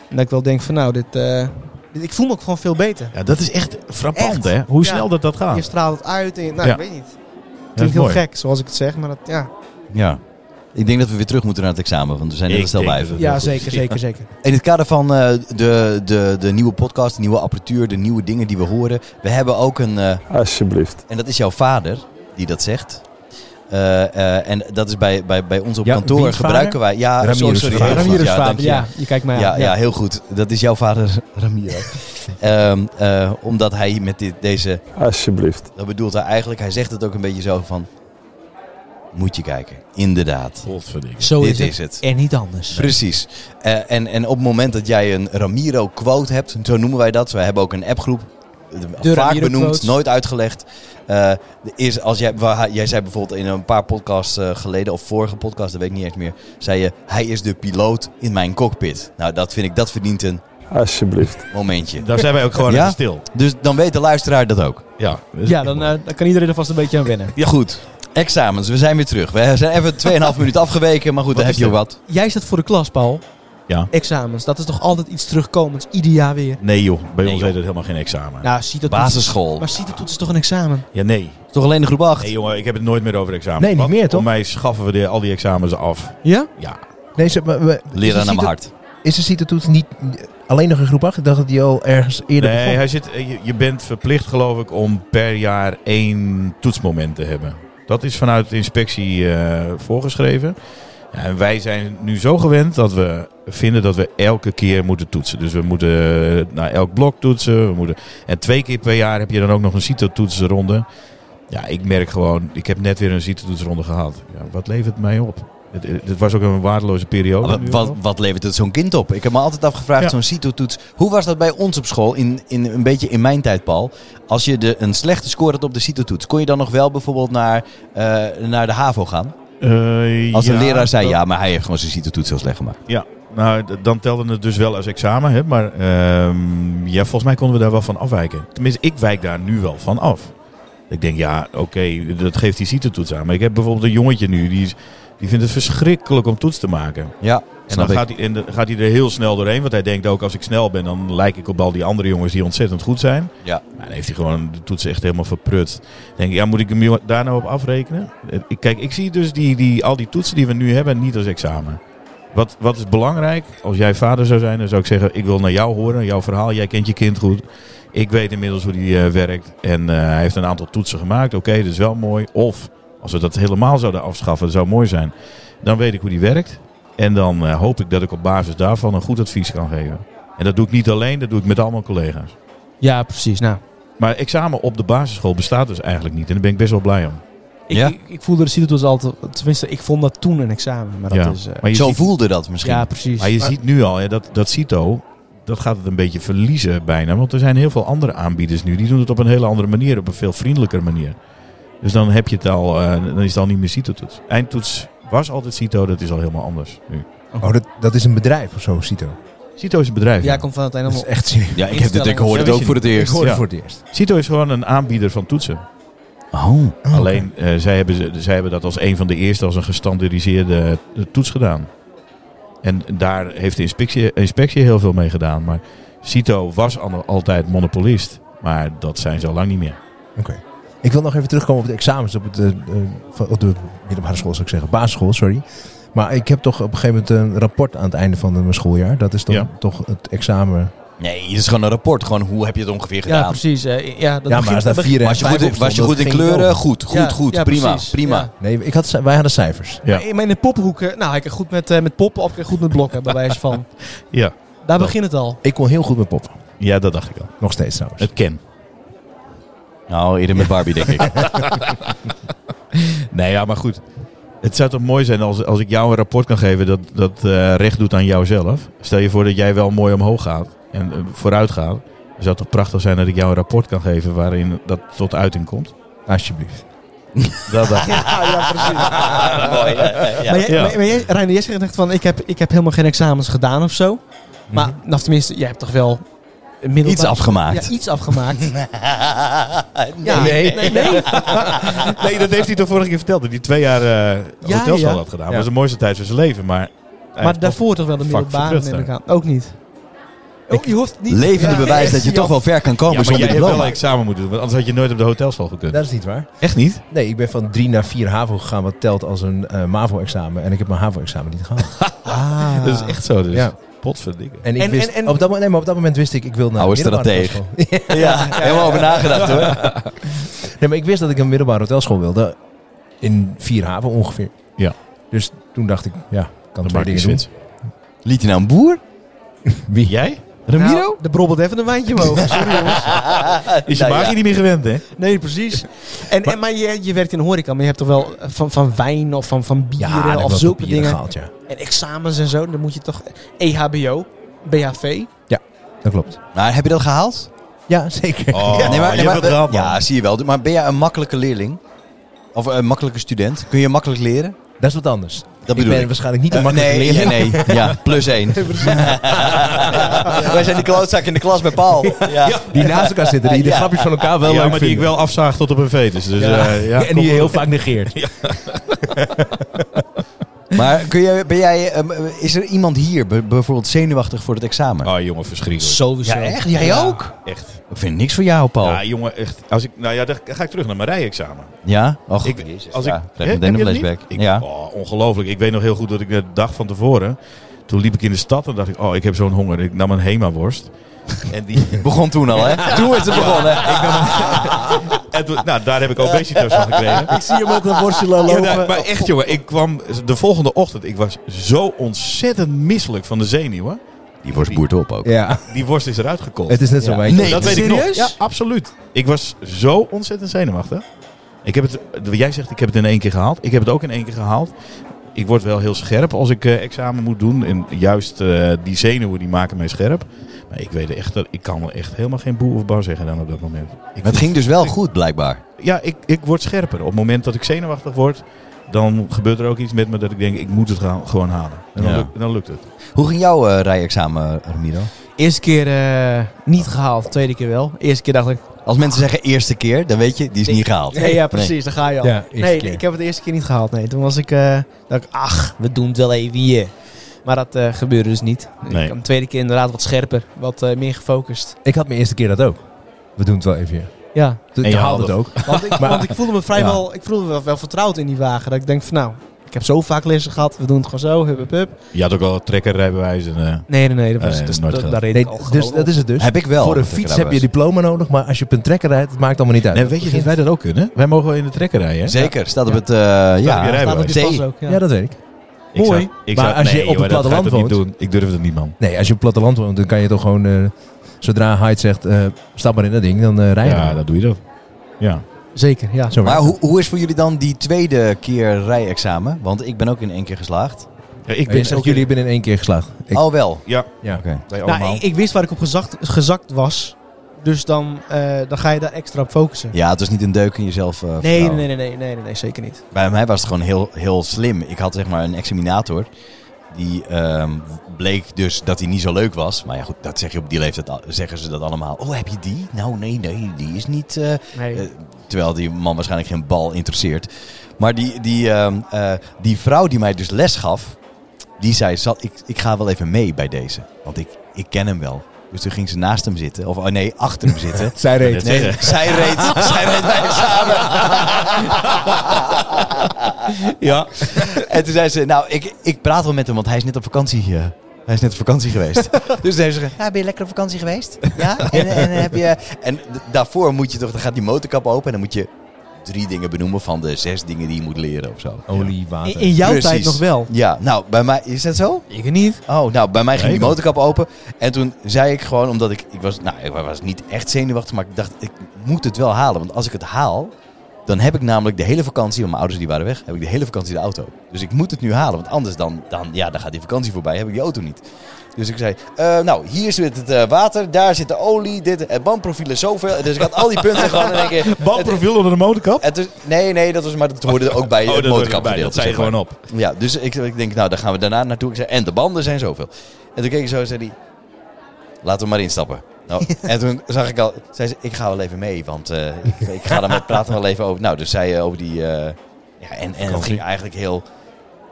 [SPEAKER 4] En dat ik wel denk van nou, dit, eh, dit- ik voel me ook gewoon veel beter.
[SPEAKER 2] Ja, dat is echt frappant,
[SPEAKER 4] Echt?
[SPEAKER 2] hè? Hoe
[SPEAKER 4] Ja.
[SPEAKER 2] snel dat dat gaat.
[SPEAKER 4] Je straalt het uit en je- nou,
[SPEAKER 2] Ah. Ja.
[SPEAKER 4] ik weet niet. Het
[SPEAKER 2] dat is
[SPEAKER 4] klinkt heel
[SPEAKER 2] mooi.
[SPEAKER 4] gek zoals ik het zeg, maar dat, ja.
[SPEAKER 1] Ja. Ik denk dat we weer terug moeten naar het examen, want we zijn
[SPEAKER 2] Ik
[SPEAKER 1] heel snel
[SPEAKER 2] denk
[SPEAKER 1] bij.
[SPEAKER 2] dat het
[SPEAKER 4] Ja,
[SPEAKER 2] heel goed
[SPEAKER 4] zeker,
[SPEAKER 2] is.
[SPEAKER 4] zeker, zeker.
[SPEAKER 1] In het kader van eh, de, de, de nieuwe podcast, de nieuwe apparatuur, de nieuwe dingen die we horen. We hebben ook een, eh,
[SPEAKER 3] Alsjeblieft.
[SPEAKER 1] en dat is jouw vader die dat zegt. Eh, eh, en dat is bij, bij, bij ons op
[SPEAKER 6] Ja,
[SPEAKER 1] kantoor
[SPEAKER 6] wiens
[SPEAKER 1] gebruiken wij. Ja,
[SPEAKER 6] Ramirez'
[SPEAKER 1] sorry, sorry,
[SPEAKER 6] vader.
[SPEAKER 1] heel goed.
[SPEAKER 4] Ramirez
[SPEAKER 1] ja, dank
[SPEAKER 4] vader,
[SPEAKER 1] je.
[SPEAKER 4] ja, je kijkt mij aan.
[SPEAKER 1] Ja, ja, heel goed. Dat is jouw vader, Ramiro. Ehm, eh, omdat hij met dit, deze.
[SPEAKER 3] Alsjeblieft.
[SPEAKER 1] Dat bedoelt hij eigenlijk. Hij zegt het ook een beetje zo van. Moet je kijken. Inderdaad.
[SPEAKER 2] Godverdikke.
[SPEAKER 4] Zo
[SPEAKER 1] dit
[SPEAKER 4] is het.
[SPEAKER 1] is het.
[SPEAKER 4] En niet anders.
[SPEAKER 1] Precies. Eh, en, en op het moment dat jij een Ramiro-quote hebt, zo noemen wij dat. Wij hebben ook een appgroep. eh, Vaak
[SPEAKER 4] Ramiro
[SPEAKER 1] benoemd,
[SPEAKER 4] quotes.
[SPEAKER 1] nooit uitgelegd. Eh, is als jij, waar- jij zei bijvoorbeeld in een paar podcasts eh, geleden, of vorige podcast, dat weet ik niet echt meer. Zei je, hij is de piloot in mijn cockpit. Nou, dat vind ik, dat verdient een
[SPEAKER 3] Alsjeblieft.
[SPEAKER 1] momentje.
[SPEAKER 2] Daar zijn wij ook gewoon
[SPEAKER 1] Ja?
[SPEAKER 2] even stil.
[SPEAKER 1] Dus dan weet de luisteraar dat ook.
[SPEAKER 2] Ja,
[SPEAKER 4] Ja, dan, eh, dan kan iedereen er vast een beetje aan wennen.
[SPEAKER 1] Ja, goed. Examens, we zijn weer terug. We zijn even 2,5 minuten afgeweken, maar goed, dan
[SPEAKER 2] Wat
[SPEAKER 1] heb
[SPEAKER 2] is
[SPEAKER 1] je ook
[SPEAKER 2] dit?
[SPEAKER 1] wat.
[SPEAKER 4] Jij staat voor de klas, Paul.
[SPEAKER 2] Ja.
[SPEAKER 4] Examens, dat is toch altijd iets terugkomends, ieder jaar weer.
[SPEAKER 2] Nee joh, bij
[SPEAKER 1] Nee,
[SPEAKER 2] ons
[SPEAKER 1] joh.
[SPEAKER 2] heet het helemaal geen examen.
[SPEAKER 4] Nou, ziet dat
[SPEAKER 1] Basisschool.
[SPEAKER 4] Maar ziet de toets is toch een examen?
[SPEAKER 2] Ja, nee.
[SPEAKER 1] Is toch alleen de groep 8?
[SPEAKER 2] Nee jongen, ik heb het nooit meer over examen.
[SPEAKER 6] Nee, niet
[SPEAKER 2] Wat?
[SPEAKER 6] meer, toch?
[SPEAKER 2] Voor mij schaffen we de, al die examens af.
[SPEAKER 4] Ja?
[SPEAKER 2] Ja.
[SPEAKER 6] Nee, ze, maar we- dus je
[SPEAKER 1] Leraar naar
[SPEAKER 6] ziet
[SPEAKER 1] mijn
[SPEAKER 6] het-
[SPEAKER 1] hart.
[SPEAKER 6] Is de CITO-toets niet alleen nog in groep 8? Ik dacht dat die al ergens eerder
[SPEAKER 2] Nee,
[SPEAKER 6] begon.
[SPEAKER 2] hij zit, eh, je, je bent verplicht geloof ik om per jaar één toetsmoment te hebben. Dat is vanuit de inspectie eh, voorgeschreven. Ja, en wij zijn nu zo gewend dat we vinden dat we elke keer moeten toetsen. Dus we moeten eh, naar elk blok toetsen. We moeten, en twee keer per jaar heb je dan ook nog een CITO-toetsronde. Ja, ik merk gewoon, ik heb net weer een CITO-toetsronde gehad. Ja, wat levert mij op? Het, het was ook een waardeloze periode.
[SPEAKER 1] Wat,
[SPEAKER 2] nu
[SPEAKER 1] wat,
[SPEAKER 2] al.
[SPEAKER 1] wat levert het zo'n kind op? Ik heb me altijd afgevraagd,
[SPEAKER 2] Ja.
[SPEAKER 1] zo'n CITO-toets. Hoe was dat bij ons op school, in, in, een beetje in mijn tijd, Paul? Als je de, een slechte score had op de CITO-toets, kon je dan nog wel bijvoorbeeld naar, eh, naar de HAVO gaan?
[SPEAKER 2] Eh,
[SPEAKER 1] Als de
[SPEAKER 2] ja,
[SPEAKER 1] leraar zei,
[SPEAKER 2] dat-
[SPEAKER 1] ja, maar hij heeft gewoon zijn CITO-toets heel slecht gemaakt.
[SPEAKER 2] Ja, nou, d- dan telde het dus wel als examen. Hè? Maar ehm, ja, volgens mij konden we daar wel van afwijken. Tenminste, ik wijk daar nu wel van af. Ik denk, ja, oké, dat geeft die CITO-toets aan. Maar ik heb bijvoorbeeld een jongetje nu, die, is, die vindt het verschrikkelijk om toets te maken.
[SPEAKER 1] Ja,
[SPEAKER 2] En dan
[SPEAKER 1] snap ik.
[SPEAKER 2] gaat hij, en dan gaat hij er heel snel doorheen. Want hij denkt ook, als ik snel ben, dan lijk ik op al die andere jongens die ontzettend goed zijn.
[SPEAKER 1] Ja.
[SPEAKER 2] Maar dan heeft hij gewoon de toets echt helemaal verprut. Dan denk ik, ja, moet ik hem jo- daar nou op afrekenen? Eh, ik- Kijk, ik zie dus die, die, al die toetsen die we nu hebben niet als examen. Wat, wat is belangrijk? Als jij vader zou zijn, dan zou ik zeggen, ik wil naar jou horen, jouw verhaal. Jij kent je kind goed. Ik weet inmiddels hoe die eh, werkt. En eh, hij heeft een aantal toetsen gemaakt. Oké, dat is wel mooi. Of, als we dat helemaal zouden afschaffen, dat zou mooi zijn. Dan weet ik hoe die werkt. En dan eh, hoop ik dat ik op basis daarvan een goed advies kan geven. En dat doe ik niet alleen, dat doe ik met al mijn collega's.
[SPEAKER 4] Ja, precies. Nou,
[SPEAKER 2] Maar examen op de basisschool bestaat dus eigenlijk niet. En daar ben ik best wel blij om.
[SPEAKER 4] ik,
[SPEAKER 1] Ja.
[SPEAKER 4] ik, ik voelde de CITO-toets altijd... Tenminste, ik vond dat toen een examen. Maar dat
[SPEAKER 2] Ja.
[SPEAKER 4] is... eh,
[SPEAKER 2] Maar je,
[SPEAKER 1] Zo
[SPEAKER 2] ziet,
[SPEAKER 1] voelde dat misschien.
[SPEAKER 4] ja, precies.
[SPEAKER 2] maar je
[SPEAKER 4] Maar-
[SPEAKER 2] ziet nu al, hè, dat, dat CITO, dat gaat het een beetje verliezen bijna. Want er zijn heel veel andere aanbieders nu. Die doen het op een hele andere manier, op een veel vriendelijker manier. Dus dan heb je het al, eh, dan is het al niet meer CITO-toets. Eindtoets was altijd CITO, dat is al helemaal anders nu.
[SPEAKER 6] Oh, dat, dat is een bedrijf of zo, CITO.
[SPEAKER 2] CITO is een bedrijf.
[SPEAKER 4] Ja,
[SPEAKER 2] hè?
[SPEAKER 4] komt van het
[SPEAKER 6] Dat
[SPEAKER 4] einde
[SPEAKER 6] is echt serieus.
[SPEAKER 1] Ja, ik, heb dit, ik hoorde het
[SPEAKER 2] Ja,
[SPEAKER 1] ook voor het
[SPEAKER 6] Ik
[SPEAKER 1] eerst.
[SPEAKER 6] hoorde
[SPEAKER 2] Ja.
[SPEAKER 6] voor het eerst.
[SPEAKER 2] CITO is gewoon een aanbieder van toetsen.
[SPEAKER 1] Oh,
[SPEAKER 6] Oh,
[SPEAKER 2] Alleen eh, zij, hebben, ze- zij hebben dat als een van de eerste als een gestandardiseerde eh, toets gedaan. En daar heeft de inspectie, inspectie heel veel mee gedaan. Maar CITO was al- altijd monopolist. Maar dat zijn ze al lang niet meer.
[SPEAKER 6] Oké. Oké. Ik wil nog even terugkomen op de examens op, het, eh, eh, van- op de middelbare school, zou ik zeggen. Basisschool, sorry. Maar ik heb toch op een gegeven moment een rapport aan het einde van mijn schooljaar. Dat is dan
[SPEAKER 2] Ja.
[SPEAKER 6] toch het examen.
[SPEAKER 1] nee, het is gewoon een rapport. Gewoon, hoe heb je het ongevier
[SPEAKER 4] Ja,
[SPEAKER 1] gedaan?
[SPEAKER 4] precies. eh, ja, dat
[SPEAKER 6] ja,
[SPEAKER 4] begint-
[SPEAKER 6] maar als daar
[SPEAKER 4] dat
[SPEAKER 6] vier en
[SPEAKER 1] was je
[SPEAKER 6] vijf
[SPEAKER 1] goed,
[SPEAKER 6] op
[SPEAKER 1] in-
[SPEAKER 6] stond,
[SPEAKER 1] was je
[SPEAKER 6] dat
[SPEAKER 1] goed in
[SPEAKER 6] ging
[SPEAKER 1] kleuren?
[SPEAKER 6] wel.
[SPEAKER 1] Goed, goed,
[SPEAKER 4] Ja,
[SPEAKER 1] goed.
[SPEAKER 4] ja,
[SPEAKER 1] prima,
[SPEAKER 4] precies.
[SPEAKER 1] prima.
[SPEAKER 4] Ja.
[SPEAKER 6] Nee, ik had, ci- wij hadden cijfers.
[SPEAKER 2] Ja.
[SPEAKER 4] Maar in mijn pophoek, eh, nou, ik kan goed met, eh, met poppen of ik kan goed met blokken, bij wijze van.
[SPEAKER 2] Ja,
[SPEAKER 4] Daar begint het al.
[SPEAKER 6] Ik kon heel goed met poppen.
[SPEAKER 2] ja dat dacht ik al.
[SPEAKER 6] Nog steeds trouwens.
[SPEAKER 2] Het ken.
[SPEAKER 1] Nou, eerder met Barbie, denk ik.
[SPEAKER 2] Nee, ja, maar goed. Het zou toch mooi zijn als, als ik jou een rapport kan geven dat, dat eh, recht doet aan jouzelf. Stel je voor dat jij wel mooi omhoog gaat en eh, vooruit gaat. Dan zou het toch prachtig zijn dat ik jou een rapport kan geven waarin dat tot uiting komt.
[SPEAKER 6] Alsjeblieft.
[SPEAKER 2] Dat dacht ik.
[SPEAKER 4] Ja, ja precies.
[SPEAKER 1] Mooi, hè? Ja.
[SPEAKER 4] Maar, jij,
[SPEAKER 2] Ja.
[SPEAKER 4] maar, maar jij, Reiner, jij zegt echt van, ik heb, ik heb helemaal geen examens gedaan of zo. Maar, nou, tenminste, jij hebt toch wel... een middelbaar-
[SPEAKER 1] Iets afgemaakt.
[SPEAKER 4] Ja, iets afgemaakt.
[SPEAKER 1] Ja.
[SPEAKER 4] nee, nee, nee.
[SPEAKER 2] Nee, dat heeft hij toch vorige keer verteld. Dat hij twee jaar eh
[SPEAKER 4] Ja,
[SPEAKER 2] hotelschool
[SPEAKER 4] ja.
[SPEAKER 2] had gedaan.
[SPEAKER 6] Ja.
[SPEAKER 2] Dat was de mooiste tijd van zijn leven. Maar, hij
[SPEAKER 4] Maar
[SPEAKER 2] heeft toch-
[SPEAKER 4] daarvoor toch wel de
[SPEAKER 2] vak
[SPEAKER 4] middelbare,
[SPEAKER 2] verprutst
[SPEAKER 4] neem ik aan. Ook niet. Oh, je hoeft niet...
[SPEAKER 1] Levende
[SPEAKER 4] Ja,
[SPEAKER 1] bewijs dat je
[SPEAKER 4] ja,
[SPEAKER 1] toch wel ver kan komen
[SPEAKER 2] Ja, maar
[SPEAKER 1] zonder
[SPEAKER 2] jij hebt wel een
[SPEAKER 1] diploma.
[SPEAKER 2] examen moeten doen. Want anders had je nooit op de hotelschool gekund.
[SPEAKER 6] Dat is niet waar.
[SPEAKER 2] Echt niet?
[SPEAKER 6] Nee, ik ben van drie naar vier HAVO gegaan, wat telt als een eh, MAVO-examen. En ik heb mijn HAVO-examen niet gehaald.
[SPEAKER 4] Ah.
[SPEAKER 2] Dat is echt zo. Dus.
[SPEAKER 6] Ja.
[SPEAKER 2] Potverdikke.
[SPEAKER 6] En, ik
[SPEAKER 4] En-
[SPEAKER 6] wist,
[SPEAKER 4] en- en-
[SPEAKER 6] Op, dat, mo- nee, maar op dat moment wist ik, ik wil naar
[SPEAKER 1] Oude
[SPEAKER 6] een middelbare
[SPEAKER 1] strateeg.
[SPEAKER 6] hotelschool.
[SPEAKER 1] Ja, helemaal over nagedacht hoor.
[SPEAKER 6] Nee, maar ik wist dat ik een middelbare hotelschool wilde. In vier HAVO ongeveer.
[SPEAKER 2] Ja.
[SPEAKER 6] Dus toen dacht ik, ja, kan
[SPEAKER 2] Dat
[SPEAKER 6] twee
[SPEAKER 2] maakt niet
[SPEAKER 6] dingen doen.
[SPEAKER 2] zin.
[SPEAKER 1] Liet hij nou een boer?
[SPEAKER 2] Wie? Jij?
[SPEAKER 4] Nou,
[SPEAKER 1] Ramiro?
[SPEAKER 4] er brobbelt even een wijntje omhoog. Sorry, jongens.
[SPEAKER 2] Is je maag je niet meer gewend, hè?
[SPEAKER 4] Nee, precies. En, maar en, maar je, je werkt in de horeca, maar je hebt toch wel eh, van, van wijn of van, van bieren
[SPEAKER 6] Ja, dat
[SPEAKER 4] of
[SPEAKER 6] was
[SPEAKER 4] zulke dingen.
[SPEAKER 6] gehaald, ja.
[SPEAKER 4] En examens en zo, dan moet je toch... E EHBO, BHV.
[SPEAKER 6] Dat klopt.
[SPEAKER 1] Maar heb je dat gehaald?
[SPEAKER 6] Ja, zeker.
[SPEAKER 2] Oh, je hebt het gehaald, man.
[SPEAKER 1] ja, zie je wel. Maar ben jij een makkelijke leerling? Of een makkelijke student? Kun je makkelijk leren?
[SPEAKER 6] Dat is wat anders.
[SPEAKER 1] Dat
[SPEAKER 6] ik
[SPEAKER 1] bedoel
[SPEAKER 6] ben
[SPEAKER 1] ik.
[SPEAKER 6] waarschijnlijk niet een
[SPEAKER 1] Eh,
[SPEAKER 6] makkelijke
[SPEAKER 1] nee,
[SPEAKER 6] leerling.
[SPEAKER 1] nee, nee. Ja, plus één. Wij zijn die klootzak in de klas bij Paul. Ja.
[SPEAKER 6] Die naast elkaar zitten, die de
[SPEAKER 1] Ja.
[SPEAKER 6] grapjes van elkaar wel
[SPEAKER 2] ja,
[SPEAKER 6] leuk
[SPEAKER 2] maar die ik
[SPEAKER 6] vinden.
[SPEAKER 2] wel afzaag tot op een vetus. Dus,
[SPEAKER 6] Ja.
[SPEAKER 2] eh, ja,
[SPEAKER 6] en
[SPEAKER 2] kom
[SPEAKER 6] die je
[SPEAKER 2] maar
[SPEAKER 6] heel
[SPEAKER 2] op.
[SPEAKER 6] vaak negeert.
[SPEAKER 1] Maar kun jij, ben jij, ehm, is er iemand hier b- bijvoorbeeld zenuwachtig voor het examen?
[SPEAKER 2] Oh, jongen, verschrikkelijk.
[SPEAKER 4] Sowieso.
[SPEAKER 1] Ja, echt? Jij
[SPEAKER 4] Ja.
[SPEAKER 1] ook?
[SPEAKER 2] Echt.
[SPEAKER 1] Ik vind niks voor jou, Paul.
[SPEAKER 2] Ja, jongen, echt. Als ik, nou ja, dan ga ik terug naar mijn rijexamen. Oh,
[SPEAKER 1] Ja? Och,
[SPEAKER 2] Ik,
[SPEAKER 1] jezus,
[SPEAKER 2] als
[SPEAKER 1] ja.
[SPEAKER 2] ik
[SPEAKER 1] krijg
[SPEAKER 2] hè,
[SPEAKER 1] meteen
[SPEAKER 2] heb
[SPEAKER 1] een
[SPEAKER 2] je dat
[SPEAKER 1] flashback.
[SPEAKER 2] niet? Ik-
[SPEAKER 1] ja.
[SPEAKER 2] oh, ongelooflijk. Ik weet nog heel goed dat ik de dag van tevoren. Toen liep ik in de stad en dacht ik, oh, ik heb zo'n honger. Ik nam een Hema-worst. En, die,
[SPEAKER 1] Begon toen al, hè? Toen is het begonnen. Ik nam
[SPEAKER 2] en toen- nou, daar heb ik obesitas van gekregen.
[SPEAKER 6] Ik zie hem ook naar worstelen
[SPEAKER 2] Ja, nou, maar echt jongen, ik kwam de volgende ochtend, ik was zo ontzettend misselijk van de zenuwen.
[SPEAKER 1] Die wordt boert op ook.
[SPEAKER 6] Ja,
[SPEAKER 2] Die worst is eruit gekold.
[SPEAKER 6] het is net zo
[SPEAKER 1] Ja.
[SPEAKER 6] wijntje.
[SPEAKER 1] Nee,
[SPEAKER 2] dat weet ik nog.
[SPEAKER 4] serieus?
[SPEAKER 2] Ja, absoluut. Ik was zo ontzettend zenuwachtig. Ik heb het, jij zegt, ik heb het in één keer gehaald. Ik heb het ook in één keer gehaald. Ik word wel heel scherp als ik eh, examen moet doen. En juist eh, die zenuwen die maken mij scherp. Maar ik weet echt, dat ik kan echt helemaal geen boe of bar zeggen dan op dat moment. Ik
[SPEAKER 1] Maar het ging dus wel goed, blijkbaar.
[SPEAKER 2] ja, ik, ik word scherper. Op het moment dat ik zenuwachtig word, dan gebeurt er ook iets met me dat ik denk, ik moet het gaan- gewoon halen. En dan,
[SPEAKER 1] Ja.
[SPEAKER 2] lukt, dan lukt het.
[SPEAKER 1] Hoe ging jouw eh, rijexamen, Ramiro?
[SPEAKER 4] Eerste keer eh, niet gehaald, tweede keer wel. Eerste keer dacht ik...
[SPEAKER 1] Als mensen zeggen eerste keer, dan weet je, die is niet gehaald.
[SPEAKER 4] Nee, ja, precies, daar ga je al.
[SPEAKER 6] Ja, eerste
[SPEAKER 4] nee,
[SPEAKER 6] keer.
[SPEAKER 4] ik heb het de eerste keer niet gehaald. Nee, toen was ik... eh, dacht ik, ach, we doen het wel even hier. Maar dat eh, gebeurde dus niet.
[SPEAKER 2] Nee.
[SPEAKER 4] Ik kwam de tweede keer inderdaad wat scherper, wat eh, meer gefocust.
[SPEAKER 6] Ik had mijn eerste keer dat ook. We doen het wel even hier.
[SPEAKER 4] Ja,
[SPEAKER 6] Toen-
[SPEAKER 2] En
[SPEAKER 6] Ik
[SPEAKER 2] je
[SPEAKER 6] haalde het ook.
[SPEAKER 4] want ik,
[SPEAKER 6] Maar-
[SPEAKER 4] want ik voelde me vrijwel ik voelde me wel, wel vertrouwd in die wagen. Dat ik denk van nou, ik heb zo vaak lessen gehad, we doen het gewoon zo, hup hup hup.
[SPEAKER 2] Je had ook al trekkerrijbewijs. En, eh,
[SPEAKER 4] Nee, nee, nee, dat was,
[SPEAKER 2] Eh,
[SPEAKER 4] dus,
[SPEAKER 2] nooit
[SPEAKER 4] dat-
[SPEAKER 2] gedaan.
[SPEAKER 4] daar reed
[SPEAKER 6] Nee,
[SPEAKER 4] ik al
[SPEAKER 6] dus
[SPEAKER 4] gewoon
[SPEAKER 6] dat is het dus.
[SPEAKER 1] Heb ik wel.
[SPEAKER 6] Voor een
[SPEAKER 1] Dat ik
[SPEAKER 6] fiets
[SPEAKER 1] erbij
[SPEAKER 6] heb je
[SPEAKER 1] was.
[SPEAKER 6] diploma nodig, maar als je op een trekker rijdt, het maakt allemaal niet uit.
[SPEAKER 2] nee, weet je dat wij dat ook kunnen? Wij mogen in de trekker rijden. hè?
[SPEAKER 1] Zeker, staat op
[SPEAKER 4] Ja.
[SPEAKER 1] het... eh,
[SPEAKER 2] op je
[SPEAKER 1] ja.
[SPEAKER 2] rij-
[SPEAKER 4] op. Staat op je
[SPEAKER 1] Zee.
[SPEAKER 4] pas ook, ja.
[SPEAKER 6] Ja, dat weet ik.
[SPEAKER 2] Ik
[SPEAKER 6] Mooi. Maar als je op het
[SPEAKER 2] joh, dat
[SPEAKER 6] platteland
[SPEAKER 2] ga ik toch niet doen. Ik durf het niet, man.
[SPEAKER 6] Nee, als je op het platteland woont, dan kan je toch gewoon... eh, zodra Hyde zegt, eh, stap maar in dat ding, dan eh rij je.
[SPEAKER 2] Ja,
[SPEAKER 6] maar.
[SPEAKER 2] dan doe je dat. Ja.
[SPEAKER 4] Zeker, ja.
[SPEAKER 6] Zo
[SPEAKER 1] Maar
[SPEAKER 6] werkt
[SPEAKER 1] hoe, hoe is voor jullie dan die tweede keer rijexamen? Want ik ben ook in één keer geslaagd.
[SPEAKER 2] Ja, ik
[SPEAKER 6] het. Je zegt, jullie hebben in één keer geslaagd. Ik-
[SPEAKER 1] Oh, wel.
[SPEAKER 2] Ja,
[SPEAKER 6] ja.
[SPEAKER 1] Oké.
[SPEAKER 2] wij
[SPEAKER 4] Nou,
[SPEAKER 2] allemaal.
[SPEAKER 4] ik, ik wist waar ik op gezakt, gezakt was, dus dan, eh, dan ga je daar extra op focussen.
[SPEAKER 1] Ja, het was niet een deuk in jezelf. eh,
[SPEAKER 4] Nee,
[SPEAKER 1] vertrouwen.
[SPEAKER 4] nee, nee, nee, nee, nee, nee, nee, zeker niet.
[SPEAKER 1] Bij mij was het gewoon heel, heel slim. Ik had zeg maar een examinator. Die ehm, bleek dus dat hij niet zo leuk was. Maar ja, goed, dat zeg je op die leeftijd. al- Zeggen ze dat allemaal. Oh, heb je die? Nou, nee, nee, die is niet. eh,
[SPEAKER 4] Nee.
[SPEAKER 1] Eh, terwijl die man waarschijnlijk geen bal interesseert. Maar die, die, ehm, eh, die vrouw die mij dus les gaf, die zei, "Zal- ik, ik ga wel even mee bij deze. Want ik, ik ken hem wel. Dus toen ging ze naast hem zitten. Of oh nee, achter hem zitten.
[SPEAKER 6] Zij reed.
[SPEAKER 2] Dat
[SPEAKER 1] Nee,
[SPEAKER 2] zeggen.
[SPEAKER 1] zij reed, zij reed bij hem samen. ja. En toen zei ze, nou, ik, ik praat wel met hem, want hij is net op vakantie. eh, hij is net op vakantie geweest. dus toen heeft ze gezegd, ja, ben je lekker op vakantie geweest? Ja? En, en heb je... En d- daarvoor moet je toch, dan gaat die motorkap open en dan moet je drie dingen benoemen van de zes dingen die je moet leren of zo.
[SPEAKER 6] Olie,
[SPEAKER 4] In,
[SPEAKER 6] water.
[SPEAKER 4] in jouw
[SPEAKER 1] Precies.
[SPEAKER 4] tijd nog wel.
[SPEAKER 1] Ja, nou, bij mij, is dat zo?
[SPEAKER 4] Ik niet.
[SPEAKER 1] Oh, nou, bij mij ging
[SPEAKER 2] Nee,
[SPEAKER 1] die motorkap open. En toen zei ik gewoon, omdat ik, ik was, nou, ik was niet echt zenuwachtig, maar ik dacht, ik moet het wel halen. Want als ik het haal, dan heb ik namelijk de hele vakantie, want mijn ouders die waren weg, heb ik de hele vakantie de auto. Dus ik moet het nu halen, want anders dan, dan, ja, dan gaat die vakantie voorbij, heb ik die auto niet. Dus ik zei, eh, nou, hier zit het eh, water, daar zit de olie, dit, het bandprofiel is zoveel. Dus ik had al die punten gewoon in één keer.
[SPEAKER 2] Bandprofiel onder de motorkap?
[SPEAKER 1] Het is- nee, nee, dat was maar Oh, dat hoorde ook bij het
[SPEAKER 2] Oh, dat hoort
[SPEAKER 1] motorkap
[SPEAKER 2] erbij. Dat zei je gewoon op.
[SPEAKER 1] ja, dus ik, ik denk, nou, daar gaan we daarna naartoe. Ik zei, en de banden zijn zoveel. En toen keek ik zo en zei hij, laten we maar instappen. Nou, en toen zag ik al, zei ze, ik ga wel even mee, want eh, ik, ik ga daar met praten wel even over. Nou, dus zij eh, over die, eh, ja, en, en het
[SPEAKER 2] Vakantie.
[SPEAKER 1] ging eigenlijk heel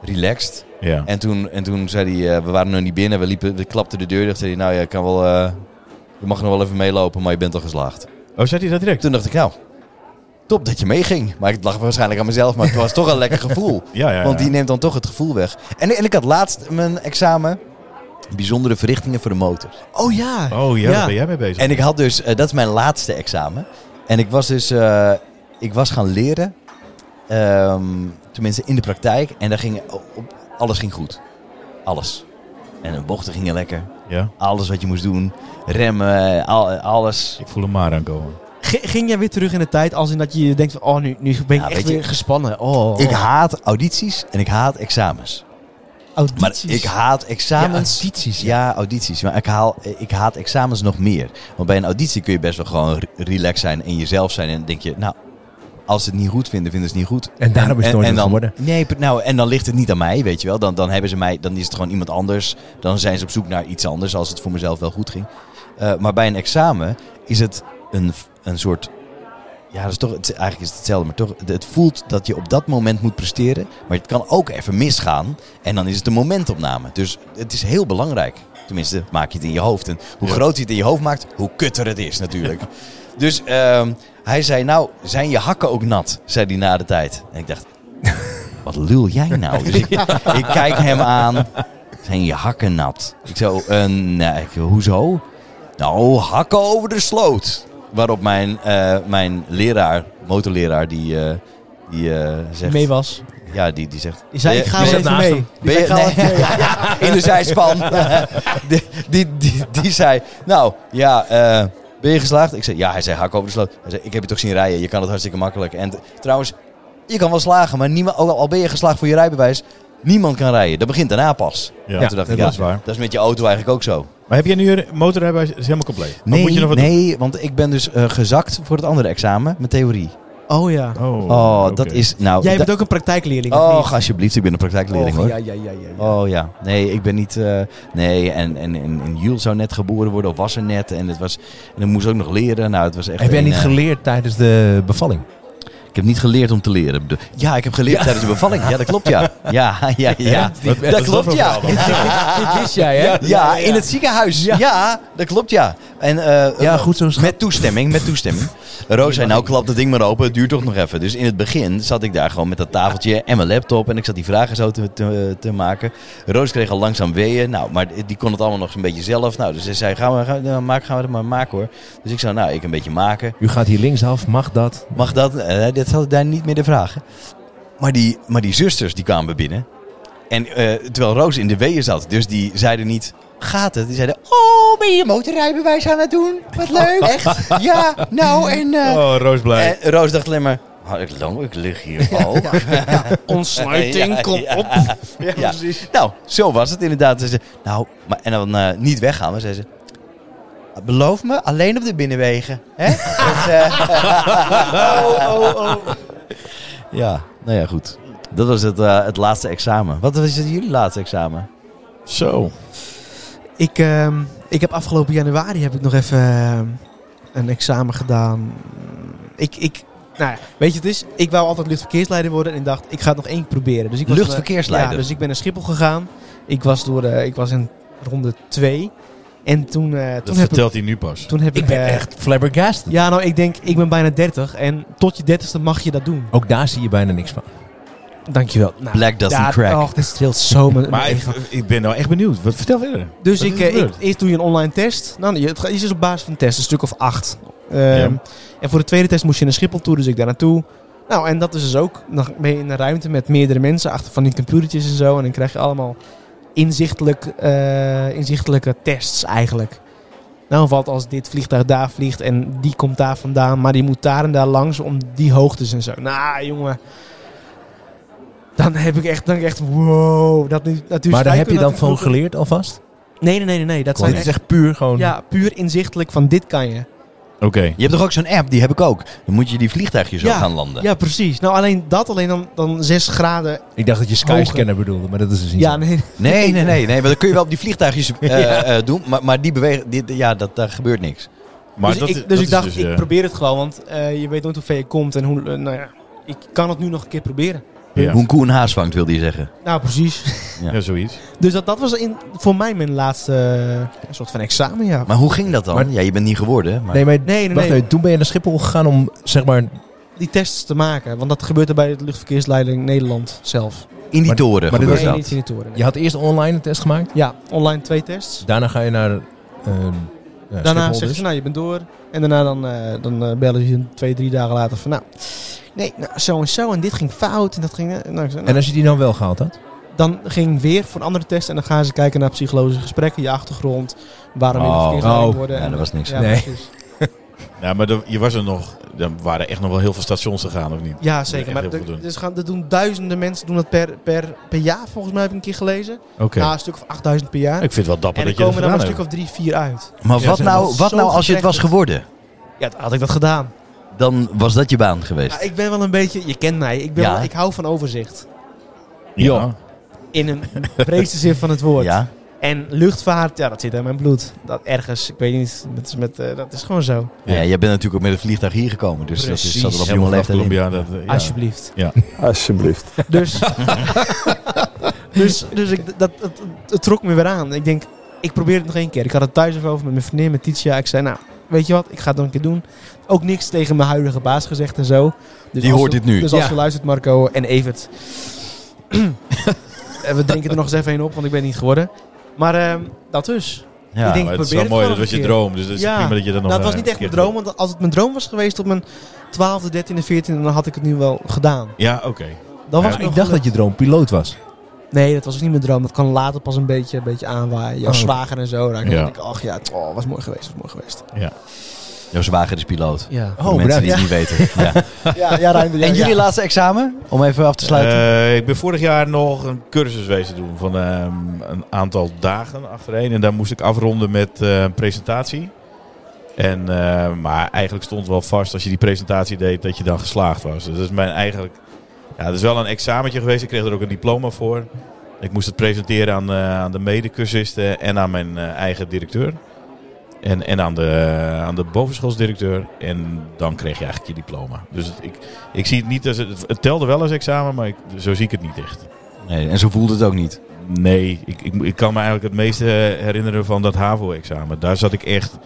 [SPEAKER 1] relaxed.
[SPEAKER 2] Ja.
[SPEAKER 1] En toen, en toen zei hij, eh, we waren nog niet binnen, we liepen, we klapten de deur dicht. Zei hij, nou, je kan wel, eh, je mag nog wel even meelopen, maar je bent al geslaagd.
[SPEAKER 2] Oh, zei hij dat direct?
[SPEAKER 1] Toen dacht ik, nou, top dat je meeging. Maar ik lag waarschijnlijk aan mezelf, maar het was toch een lekker gevoel.
[SPEAKER 2] Ja, ja, ja.
[SPEAKER 1] Want die neemt dan toch het gevoel weg. En, en ik had laatst mijn examen. Bijzondere verrichtingen voor de motor.
[SPEAKER 4] Oh ja.
[SPEAKER 2] Oh ja, daar ben jij mee bezig.
[SPEAKER 1] En ik had dus, eh, dat is mijn laatste examen. En ik was dus, eh, ik was gaan leren. ehm, tenminste in de praktijk. En daar ging, op, alles ging goed. Alles. En de bochten gingen lekker.
[SPEAKER 2] Ja.
[SPEAKER 1] Alles wat je moest doen. Remmen, eh, al- alles.
[SPEAKER 2] Ik voel hem maar aankomen.
[SPEAKER 4] G- ging jij weer terug in de tijd als in dat je denkt van, oh, nu, nu ben ik
[SPEAKER 1] Ja,
[SPEAKER 4] echt
[SPEAKER 1] weet je-
[SPEAKER 4] weer gespannen. Oh,
[SPEAKER 1] Ik haat audities en ik haat examens. Maar
[SPEAKER 4] Oh, audities.
[SPEAKER 1] ik haat examens. Ja, audities. Ja, audities. Maar ik, haal, ik haat examens nog meer. Want bij een auditie kun je best wel gewoon re- relaxed zijn en jezelf zijn. En dan denk je, nou, als ze het niet goed vinden, vinden ze het niet goed.
[SPEAKER 6] En daarom is het nooit
[SPEAKER 1] en
[SPEAKER 6] wat
[SPEAKER 1] dan,
[SPEAKER 6] geworden.
[SPEAKER 1] Nee, pr- nou, en dan ligt het niet aan mij, weet je wel. Dan, dan hebben ze mij, dan is het gewoon iemand anders. Dan zijn ze op zoek naar iets anders, als het voor mezelf wel goed ging. Eh, maar bij een examen is het een, f- een soort... Ja, dat is toch, het, is- eigenlijk is het hetzelfde, maar toch... Het voelt dat je op dat moment moet presteren. Maar het kan ook even misgaan. En dan is het een momentopname. Dus het is heel belangrijk. Tenminste, maak je het in je hoofd. En hoe groter je het in je hoofd maakt, hoe kutter het is natuurlijk. Dus ehm, hij zei, nou, zijn je hakken ook nat? Zei hij na de tijd. En ik dacht, wat lul jij nou? Dus ik, ik kijk hem aan. zijn je hakken nat? Ik zo, eh, nee, ik, hoezo? Nou, hakken over de sloot. Waarop mijn, eh, mijn leraar, motorleraar, die, eh, die eh, zegt...
[SPEAKER 4] mee was.
[SPEAKER 1] Ja, die, die zegt...
[SPEAKER 4] Die zei,
[SPEAKER 1] "Eh,
[SPEAKER 4] ik ga
[SPEAKER 1] je
[SPEAKER 4] wel
[SPEAKER 1] zegt
[SPEAKER 4] even
[SPEAKER 1] naast
[SPEAKER 4] mee.
[SPEAKER 1] hem.
[SPEAKER 4] Die
[SPEAKER 1] Ben je,
[SPEAKER 4] zei, "Ik ga wel
[SPEAKER 1] nee, ja, in de zijspan. die, die, die, die zei, nou, ja, eh, ben je geslaagd? Ik zei, ja, hij zei, hak over de sloot. Hij zei, ik heb je toch zien rijden, je kan het hartstikke makkelijk. En t- trouwens, je kan wel slagen, maar niemand, ook al al ben je geslaagd voor je rijbewijs, niemand kan rijden. Dat begint daarna pas.
[SPEAKER 2] Ja,
[SPEAKER 1] En toen dacht ik,
[SPEAKER 2] dat
[SPEAKER 1] ja,
[SPEAKER 2] is waar.
[SPEAKER 1] Dat is met je auto eigenlijk ook zo.
[SPEAKER 2] Maar heb jij nu je motorrijbewijs is helemaal compleet? Of
[SPEAKER 1] Nee,
[SPEAKER 2] moet je nog wat
[SPEAKER 1] nee want ik ben dus eh, gezakt voor het andere examen, mijn theorie.
[SPEAKER 4] Oh ja.
[SPEAKER 2] doen? Oh,
[SPEAKER 1] Oh,
[SPEAKER 2] oké.
[SPEAKER 1] dat Oh, is, nou...
[SPEAKER 4] Jij
[SPEAKER 1] da-
[SPEAKER 4] bent ook een praktijkleerling. of niet?
[SPEAKER 1] Och, alsjeblieft, ik ben een praktijkleerling hoor.
[SPEAKER 4] Och, ja, ja, ja, ja, ja.
[SPEAKER 1] Oh ja, nee, ik ben niet. eh, nee, en, en, en, en Jules zou net geboren worden, of was er net. En, het was, en ik moest ook nog leren. Nou, het was echt.
[SPEAKER 6] Heb jij
[SPEAKER 1] een,
[SPEAKER 6] niet
[SPEAKER 1] eh,
[SPEAKER 6] geleerd tijdens de bevalling?
[SPEAKER 1] Ik heb niet geleerd om te leren. De- Ja, ik heb geleerd tijdens de bevalling. Ja, dat klopt, ja. Ja, ja, ja.
[SPEAKER 2] Wat- wat is
[SPEAKER 1] Dat
[SPEAKER 2] dat
[SPEAKER 1] klopt,
[SPEAKER 2] voor
[SPEAKER 1] ja.
[SPEAKER 2] verhaal dan?
[SPEAKER 4] Dit wist jij, hè?
[SPEAKER 1] Ja, in het ziekenhuis. Ja, dat klopt, ja. En, eh,
[SPEAKER 6] Ja, goed zo. schat.
[SPEAKER 1] Met toestemming, met toestemming. Roos zei, nou klap dat ding maar open, het duurt toch nog even. Dus in het begin zat ik daar gewoon met dat tafeltje en mijn laptop en ik zat die vragen zo te, te, te maken. Roos kreeg al langzaam weeën, nou, maar die kon het allemaal nog zo'n beetje zelf. Nou, dus ze zei, gaan we, gaan, we- nou, maak, gaan we het maar maken hoor. Dus ik zei, nou, ik een beetje maken.
[SPEAKER 6] U gaat hier linksaf, mag dat?
[SPEAKER 1] Mag dat? Eh, dat had ik daar niet meer de vraag. hè. Maar die, maar die zusters, die kwamen binnen. En eh, terwijl Roos in de weeën zat, dus die zeiden niet, gaat het? Die zeiden, oh, ben je je motorrijbewijs aan het doen? Wat leuk. Echt? Ja, nou en... eh,
[SPEAKER 2] Oh, Roos blij.
[SPEAKER 1] en Roos dacht alleen maar, "Ah, ik, lang, ik lig hier ook.
[SPEAKER 4] Ontsluiting,
[SPEAKER 1] Ja,
[SPEAKER 4] kom
[SPEAKER 1] ja.
[SPEAKER 4] op.
[SPEAKER 1] Ja. Nou, zo was het inderdaad. Ze zei, nou, maar, en dan eh, niet weggaan, maar zei ze... Beloof me, alleen op de binnenwegen. Hè? Dus, eh,
[SPEAKER 4] Oh,
[SPEAKER 1] Ja, nou ja, goed. Dat was het, eh, het laatste examen. Wat was het jullie laatste examen?
[SPEAKER 2] Zo.
[SPEAKER 4] Ik, ehm, ik heb afgelopen januari heb ik nog even ehm, een examen gedaan. Ik, ik, nou ja, weet je, het is, ik wou altijd luchtverkeersleider worden en ik dacht, ik ga het nog één keer proberen. Dus ik was, eh,
[SPEAKER 1] Luchtverkeersleider?
[SPEAKER 4] ja, dus ik ben naar Schiphol gegaan. Ik was, door, eh, ik was in ronde 2. En toen, eh,
[SPEAKER 2] Dat
[SPEAKER 4] toen, heb, ik,
[SPEAKER 2] vertelt hij nu pas.
[SPEAKER 4] toen heb ik...
[SPEAKER 6] Ik ben
[SPEAKER 4] eh,
[SPEAKER 6] echt flabbergasted.
[SPEAKER 4] Ja, nou, ik denk, ik ben bijna 30 en tot je 30ste mag je dat doen.
[SPEAKER 6] Ook daar zie je bijna niks van.
[SPEAKER 4] Dankjewel. Nou,
[SPEAKER 1] Black doesn't
[SPEAKER 4] daar-
[SPEAKER 1] crack.
[SPEAKER 4] Och, dit streelt zo mijn...
[SPEAKER 2] Maar ik, ik ben nou echt benieuwd. Wat, vertel verder.
[SPEAKER 4] Dus
[SPEAKER 2] Wat
[SPEAKER 4] ik,
[SPEAKER 2] is er
[SPEAKER 4] eh, ik,
[SPEAKER 2] gebeurd?
[SPEAKER 4] eerst doe je een online test. Nou, je- het gaat- het is op basis van een test, een stuk of acht. Ehm,
[SPEAKER 2] Ja.
[SPEAKER 4] En voor de tweede test moest je naar Schiphol toe, dus ik daar naartoe. Nou, en dat is dus ook. Dan ben je in een ruimte met meerdere mensen achter van die computertjes en zo. En dan krijg je allemaal inzichtelijk, eh, inzichtelijke tests eigenlijk. Nou, wat als dit vliegtuig daar vliegt en die komt daar vandaan, maar die moet daar en daar langs om die hoogtes en zo. Nou, jongen. Dan heb ik echt, dan denk ik echt, wow. Dat nu, natuurlijk
[SPEAKER 6] Maar daar heb
[SPEAKER 4] scheikunde had
[SPEAKER 6] je dan
[SPEAKER 4] ik
[SPEAKER 6] van
[SPEAKER 4] vroeger-
[SPEAKER 6] geleerd alvast?
[SPEAKER 4] Nee, nee, nee, nee, nee. Dat
[SPEAKER 6] Dit
[SPEAKER 4] zijn
[SPEAKER 6] is echt puur gewoon...
[SPEAKER 4] ja, puur inzichtelijk van dit kan je.
[SPEAKER 2] Oké.
[SPEAKER 1] Je hebt toch ook zo'n app? Die heb ik ook. Dan moet je die vliegtuigjes zo
[SPEAKER 4] Ja,
[SPEAKER 1] gaan landen.
[SPEAKER 4] Ja, precies. Nou, alleen dat, alleen dan, dan 6 graden.
[SPEAKER 6] Ik dacht dat je Skyscanner bedoelde, maar dat is dus niet
[SPEAKER 4] Ja,
[SPEAKER 6] zo.
[SPEAKER 4] nee.
[SPEAKER 1] Nee, nee, nee. nee maar dan kun je wel op die vliegtuigjes eh, eh, doen. Maar, maar die bewegen... Die, ja, dat, daar gebeurt niks.
[SPEAKER 2] Maar
[SPEAKER 4] dus
[SPEAKER 2] dat,
[SPEAKER 4] ik,
[SPEAKER 2] is-
[SPEAKER 4] dus
[SPEAKER 2] dat
[SPEAKER 4] ik
[SPEAKER 2] is
[SPEAKER 4] dacht,
[SPEAKER 2] eh,
[SPEAKER 4] ik probeer het gewoon, want eh, je weet nooit hoe ver je komt en hoe. eh, nou ja, ik kan het nu nog een keer proberen.
[SPEAKER 1] Hoe
[SPEAKER 2] ja.
[SPEAKER 1] een koe een haas vangt, wilde je zeggen.
[SPEAKER 4] Nou, precies.
[SPEAKER 1] Ja.
[SPEAKER 2] Ja, zoiets.
[SPEAKER 4] Dus dat, dat was in, voor mij mijn laatste eh, een soort van examen, ja.
[SPEAKER 1] Maar hoe ging dat dan?
[SPEAKER 6] Maar-
[SPEAKER 1] ja, je bent niet geworden. hè, Maar...
[SPEAKER 6] Nee, maar
[SPEAKER 4] Nee, nee,
[SPEAKER 6] wacht
[SPEAKER 4] nee.
[SPEAKER 6] even, toen ben je naar Schiphol gegaan om, zeg maar...
[SPEAKER 4] Die tests te maken, want dat gebeurt er bij de luchtverkeersleiding Nederland zelf.
[SPEAKER 1] In die
[SPEAKER 6] Maar-
[SPEAKER 1] toren
[SPEAKER 6] maar dit
[SPEAKER 1] gebeurt
[SPEAKER 4] nee,
[SPEAKER 1] dat.
[SPEAKER 4] niet in de toren. nee.
[SPEAKER 6] Je had eerst online een test gemaakt.
[SPEAKER 4] Ja, online twee tests.
[SPEAKER 6] Daarna ga je naar eh, ja,
[SPEAKER 4] Daarna
[SPEAKER 6] Schiphol
[SPEAKER 4] zeggen
[SPEAKER 6] dus.
[SPEAKER 4] ze, nou, je bent door. En daarna dan, eh, dan eh, bellen ze je twee, drie dagen later van, nou, nee, nou, zo en zo. En dit ging fout. En dat ging, eh, nou, ik zei, nou.
[SPEAKER 6] En als je die nou wel gehaald had?
[SPEAKER 4] dan ging weer voor een andere test. En dan gaan ze kijken naar psychologische gesprekken, je achtergrond. Waarom in de
[SPEAKER 1] Oh.
[SPEAKER 4] verkeersleiding
[SPEAKER 6] Oh.
[SPEAKER 4] worden.
[SPEAKER 1] Ja,
[SPEAKER 4] en-
[SPEAKER 1] dat was niks.
[SPEAKER 4] Ja,
[SPEAKER 6] Nee.
[SPEAKER 4] precies.
[SPEAKER 2] Ja, maar er- je was er nog. Er waren echt nog wel heel veel stations te gaan, of niet?
[SPEAKER 4] ja
[SPEAKER 2] echt
[SPEAKER 4] zeker.
[SPEAKER 2] heel
[SPEAKER 4] Maar
[SPEAKER 2] veel
[SPEAKER 4] er,
[SPEAKER 2] doen.
[SPEAKER 4] dus gaan, er doen duizenden mensen doen dat per, per, per jaar, volgens mij heb ik een keer gelezen.
[SPEAKER 2] Oké.
[SPEAKER 4] Nou, een stuk of 8000 per jaar.
[SPEAKER 2] ik vind het wel dapper
[SPEAKER 4] en er
[SPEAKER 2] dat je dat
[SPEAKER 4] komen er maar
[SPEAKER 2] gedaan
[SPEAKER 4] een stuk
[SPEAKER 2] hebt.
[SPEAKER 4] of drie, vier uit.
[SPEAKER 1] Maar
[SPEAKER 2] Ja,
[SPEAKER 1] wat
[SPEAKER 2] ze
[SPEAKER 1] nou,
[SPEAKER 4] hebben
[SPEAKER 1] wat
[SPEAKER 4] zo
[SPEAKER 1] nou als je het was
[SPEAKER 4] gerechtigd.
[SPEAKER 1] geworden?
[SPEAKER 4] Ja, dan had ik dat gedaan.
[SPEAKER 1] Dan was dat je baan geweest.
[SPEAKER 4] Ja, ik ben wel een beetje, je kent mij, ik, ben
[SPEAKER 1] Ja.
[SPEAKER 4] wel- ik hou van overzicht.
[SPEAKER 2] Ja.
[SPEAKER 4] In een breedste zin van het woord.
[SPEAKER 1] Ja?
[SPEAKER 4] En luchtvaart, ja, dat zit in mijn bloed. Dat ergens, ik weet niet, dat is, met, eh, dat is gewoon zo.
[SPEAKER 1] Ja. jij bent natuurlijk ook met het vliegtuig hier gekomen. Dus dat is,
[SPEAKER 4] Precies.
[SPEAKER 1] zat er op jonge
[SPEAKER 2] Helemaal vanaf
[SPEAKER 1] leeftijd in.
[SPEAKER 2] Colombia. Dat, eh, ja.
[SPEAKER 4] Alsjeblieft.
[SPEAKER 3] Alsjeblieft.
[SPEAKER 4] Dus, dus, dus ik, dat, het, het trok me weer aan. Ik denk, ik probeer het nog één keer. Ik had het thuis even over met mijn vriendin, met Titia. Ik zei, nou, weet je wat, ik ga het nog een keer doen. Ook niks tegen mijn huidige baas gezegd en zo. Dus
[SPEAKER 1] Die
[SPEAKER 4] als
[SPEAKER 1] hoort
[SPEAKER 4] je-
[SPEAKER 1] dit nu.
[SPEAKER 4] Dus als
[SPEAKER 6] Ja.
[SPEAKER 4] je luistert, Marco en Evert. Eh, En we drinken er nog eens even een op, want ik ben het niet geworden. Maar ehm, dat dus.
[SPEAKER 1] Ja.
[SPEAKER 4] ik denk,
[SPEAKER 2] Maar
[SPEAKER 4] ik
[SPEAKER 2] het is
[SPEAKER 4] probeer
[SPEAKER 2] wel
[SPEAKER 4] het
[SPEAKER 2] mooi,
[SPEAKER 4] gewoon
[SPEAKER 2] dat was
[SPEAKER 4] een
[SPEAKER 2] je
[SPEAKER 4] keer.
[SPEAKER 2] droom. Dus het is
[SPEAKER 4] Ja.
[SPEAKER 2] prima dat je dat nog...
[SPEAKER 4] Nou, het was
[SPEAKER 2] eh,
[SPEAKER 4] niet echt
[SPEAKER 2] een
[SPEAKER 4] mijn
[SPEAKER 2] keer
[SPEAKER 4] droom, want als het mijn droom was geweest op mijn 12e, 13e, 14e, dan had ik het nu wel gedaan.
[SPEAKER 2] doet. Ja, oké.
[SPEAKER 4] Dan
[SPEAKER 2] Ja,
[SPEAKER 4] was
[SPEAKER 2] maar
[SPEAKER 4] het nog
[SPEAKER 6] Ik dacht
[SPEAKER 4] gelukt.
[SPEAKER 6] dat je droom piloot was.
[SPEAKER 4] Nee, dat was dus niet mijn droom. Dat kan later pas een beetje, een beetje aanwaaien. Jouw
[SPEAKER 6] Oh.
[SPEAKER 4] zwager en zo. Dan
[SPEAKER 2] Ja.
[SPEAKER 4] denk ik, ach ja, het- oh, was mooi geweest, was mooi geweest.
[SPEAKER 1] Jouw zwager is piloot.
[SPEAKER 4] Ja,
[SPEAKER 1] Voor de mensen
[SPEAKER 6] bedankt.
[SPEAKER 1] die het niet weten. Ja.
[SPEAKER 4] ja, ja Rijn, ja,
[SPEAKER 1] En jullie
[SPEAKER 4] ja.
[SPEAKER 1] laatste examen, om even af te sluiten.
[SPEAKER 2] Eh, ik ben vorig jaar nog een cursus wezen doen van ehm, een aantal dagen achtereen. En daar moest ik afronden met eh, een presentatie. En, eh, maar eigenlijk stond wel vast als je die presentatie deed dat je dan geslaagd was. Dus dat is mijn eigenlijk... Ja, dat is wel een examentje geweest. Ik kreeg er ook een diploma voor. Ik moest het presenteren aan, eh, aan de medecursisten en aan mijn eh, eigen directeur. En, en aan, de, aan de bovenschoolsdirecteur. En dan kreeg je eigenlijk je diploma. Dus het- ik, ik zie het niet als... Het, het telde wel als examen, maar ik, zo zie ik het niet echt.
[SPEAKER 1] Nee, en zo voelde het ook niet.
[SPEAKER 2] Nee, ik, ik, ik kan me eigenlijk het meeste eh, herinneren van dat HAVO-examen. Daar zat ik echt...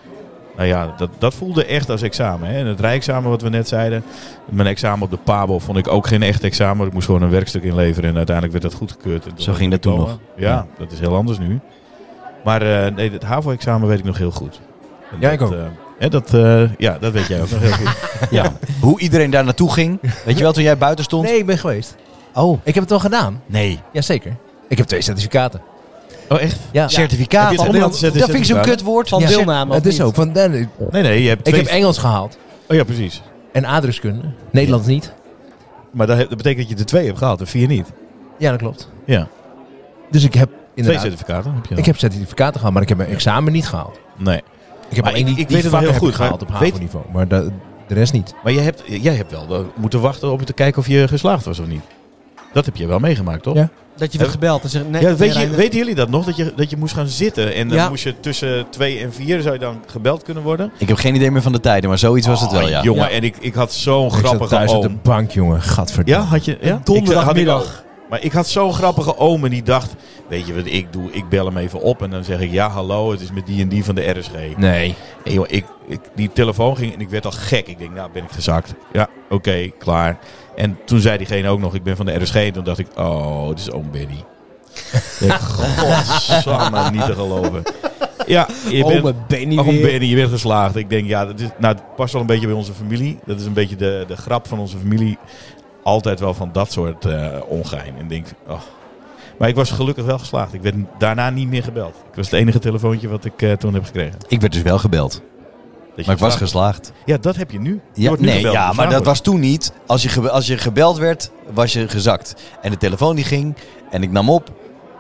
[SPEAKER 2] Nou ja, dat, dat voelde echt als examen. Hè? En het rijexamen wat we net zeiden. Mijn examen op de PABO vond ik ook geen echt examen. Ik moest gewoon een werkstuk inleveren en uiteindelijk werd dat goedgekeurd. En toen
[SPEAKER 1] Zo
[SPEAKER 2] had ik
[SPEAKER 1] ging dat toen
[SPEAKER 2] diploma. Ja,
[SPEAKER 1] Ja.
[SPEAKER 2] dat is heel anders nu. Maar eh, nee, het HAVO-examen weet ik nog heel goed. En
[SPEAKER 6] Ja, ik
[SPEAKER 2] dat,
[SPEAKER 6] ook.
[SPEAKER 2] eh, hè, dat, eh, ja, dat weet jij ook nog heel goed.
[SPEAKER 1] Hoe iedereen daar naartoe ging. Weet je wel, toen jij buiten stond?
[SPEAKER 6] Nee, ik ben geweest.
[SPEAKER 1] Oh,
[SPEAKER 6] Ik heb het wel gedaan.
[SPEAKER 1] nee.
[SPEAKER 6] Jazeker. Ik heb twee certificaten.
[SPEAKER 2] Oh, echt?
[SPEAKER 6] Ja.
[SPEAKER 1] Certificaat.
[SPEAKER 2] Heb je het
[SPEAKER 1] allemaal-
[SPEAKER 2] Nederlands
[SPEAKER 1] dat vind ik zo'n
[SPEAKER 2] certificaat?
[SPEAKER 1] kutwoord.
[SPEAKER 4] Van
[SPEAKER 1] Ja,
[SPEAKER 4] deelname,
[SPEAKER 1] cert-
[SPEAKER 4] of
[SPEAKER 6] het is
[SPEAKER 4] niet?
[SPEAKER 6] zo. Van, nee, nee.
[SPEAKER 2] Nee, nee, je hebt
[SPEAKER 6] Ik
[SPEAKER 2] twee...
[SPEAKER 6] heb Engels gehaald.
[SPEAKER 2] Oh ja, precies.
[SPEAKER 6] En aardrijkskunde. Nederlands niet.
[SPEAKER 2] Maar dat, dat betekent dat je de twee hebt gehaald en vier niet.
[SPEAKER 6] Ja, dat klopt.
[SPEAKER 2] Ja.
[SPEAKER 6] Dus ik heb
[SPEAKER 2] Twee
[SPEAKER 6] inderdaad...
[SPEAKER 2] certificaten heb je dan.
[SPEAKER 6] Ik heb certificaten gehaald, maar ik heb mijn examen niet gehaald.
[SPEAKER 2] Nee.
[SPEAKER 6] Ik heb
[SPEAKER 2] Maar
[SPEAKER 6] alleen
[SPEAKER 2] ik-
[SPEAKER 6] die,
[SPEAKER 2] ik
[SPEAKER 6] die
[SPEAKER 2] weet het wel heel
[SPEAKER 6] vakken heb ik
[SPEAKER 2] goed, maar
[SPEAKER 6] gehaald op
[SPEAKER 2] weet-
[SPEAKER 6] HAVO-niveau. Maar da- de rest niet.
[SPEAKER 2] Maar jij hebt, jij hebt wel eh, moeten wachten om te kijken of je geslaagd was of niet. Dat heb je wel meegemaakt, toch?
[SPEAKER 6] Ja.
[SPEAKER 4] Dat je werd gebeld en zegt, nee,
[SPEAKER 2] Ja, weet
[SPEAKER 4] nee,
[SPEAKER 2] je,
[SPEAKER 4] Rijn,
[SPEAKER 2] weten jullie dat nog? Dat je, dat je moest gaan zitten en dan
[SPEAKER 4] Ja.
[SPEAKER 2] moest je tussen twee en vier zou je dan gebeld kunnen worden?
[SPEAKER 1] Ik heb geen idee meer van de tijden, maar zoiets was het wel,
[SPEAKER 2] Oh,
[SPEAKER 1] ja.
[SPEAKER 2] Jongen, en ik, ik had zo'n
[SPEAKER 6] ik zat thuis
[SPEAKER 2] grappige
[SPEAKER 6] op de
[SPEAKER 2] oom.
[SPEAKER 6] bank, jongen. Gadverdamme.
[SPEAKER 2] Oh, Ja, had je? Ja?
[SPEAKER 4] donderdagmiddag.
[SPEAKER 2] Ik- had ik ook. maar ik had zo'n grappige oom en die dacht, weet je wat ik doe? Ik bel hem even op en dan zeg ik, ja hallo, het is met die en die van de RSG.
[SPEAKER 6] Nee.
[SPEAKER 2] En joh, ik, ik, die telefoon ging en ik werd al gek. Ik denk, nou ben ik gezakt. Ja, oké, klaar. En toen zei diegene ook nog, ik ben van de RSG. En toen dacht ik, oh, het is oom Benny. Ik dacht, Godsamme, niet te geloven. Ja, je
[SPEAKER 4] oh,
[SPEAKER 2] bent,
[SPEAKER 4] mijn Benny
[SPEAKER 2] oom
[SPEAKER 4] weer.
[SPEAKER 2] Benny, je bent geslaagd. Ik denk, ja, dat is, nou, het past wel een beetje bij onze familie. Dat is een beetje de, de grap van onze familie. Altijd wel van dat soort eh, ongein. En denk, oh. Maar ik was gelukkig wel geslaagd. Ik werd daarna niet meer gebeld. Ik was het enige telefoontje wat ik eh, toen heb gekregen.
[SPEAKER 1] Ik werd dus wel gebeld,
[SPEAKER 2] Dat je
[SPEAKER 1] maar ik was
[SPEAKER 2] geslaagd-
[SPEAKER 1] geslaagd.
[SPEAKER 2] ja, dat heb je nu. Je
[SPEAKER 1] Ja,
[SPEAKER 2] wordt nu
[SPEAKER 1] nee,
[SPEAKER 2] gebeld
[SPEAKER 1] ja,
[SPEAKER 2] op de
[SPEAKER 1] maar dat
[SPEAKER 2] vraag,
[SPEAKER 1] was toen niet. Als je, gebe- als je gebeld werd, was je gezakt. En de telefoon die ging en ik nam op.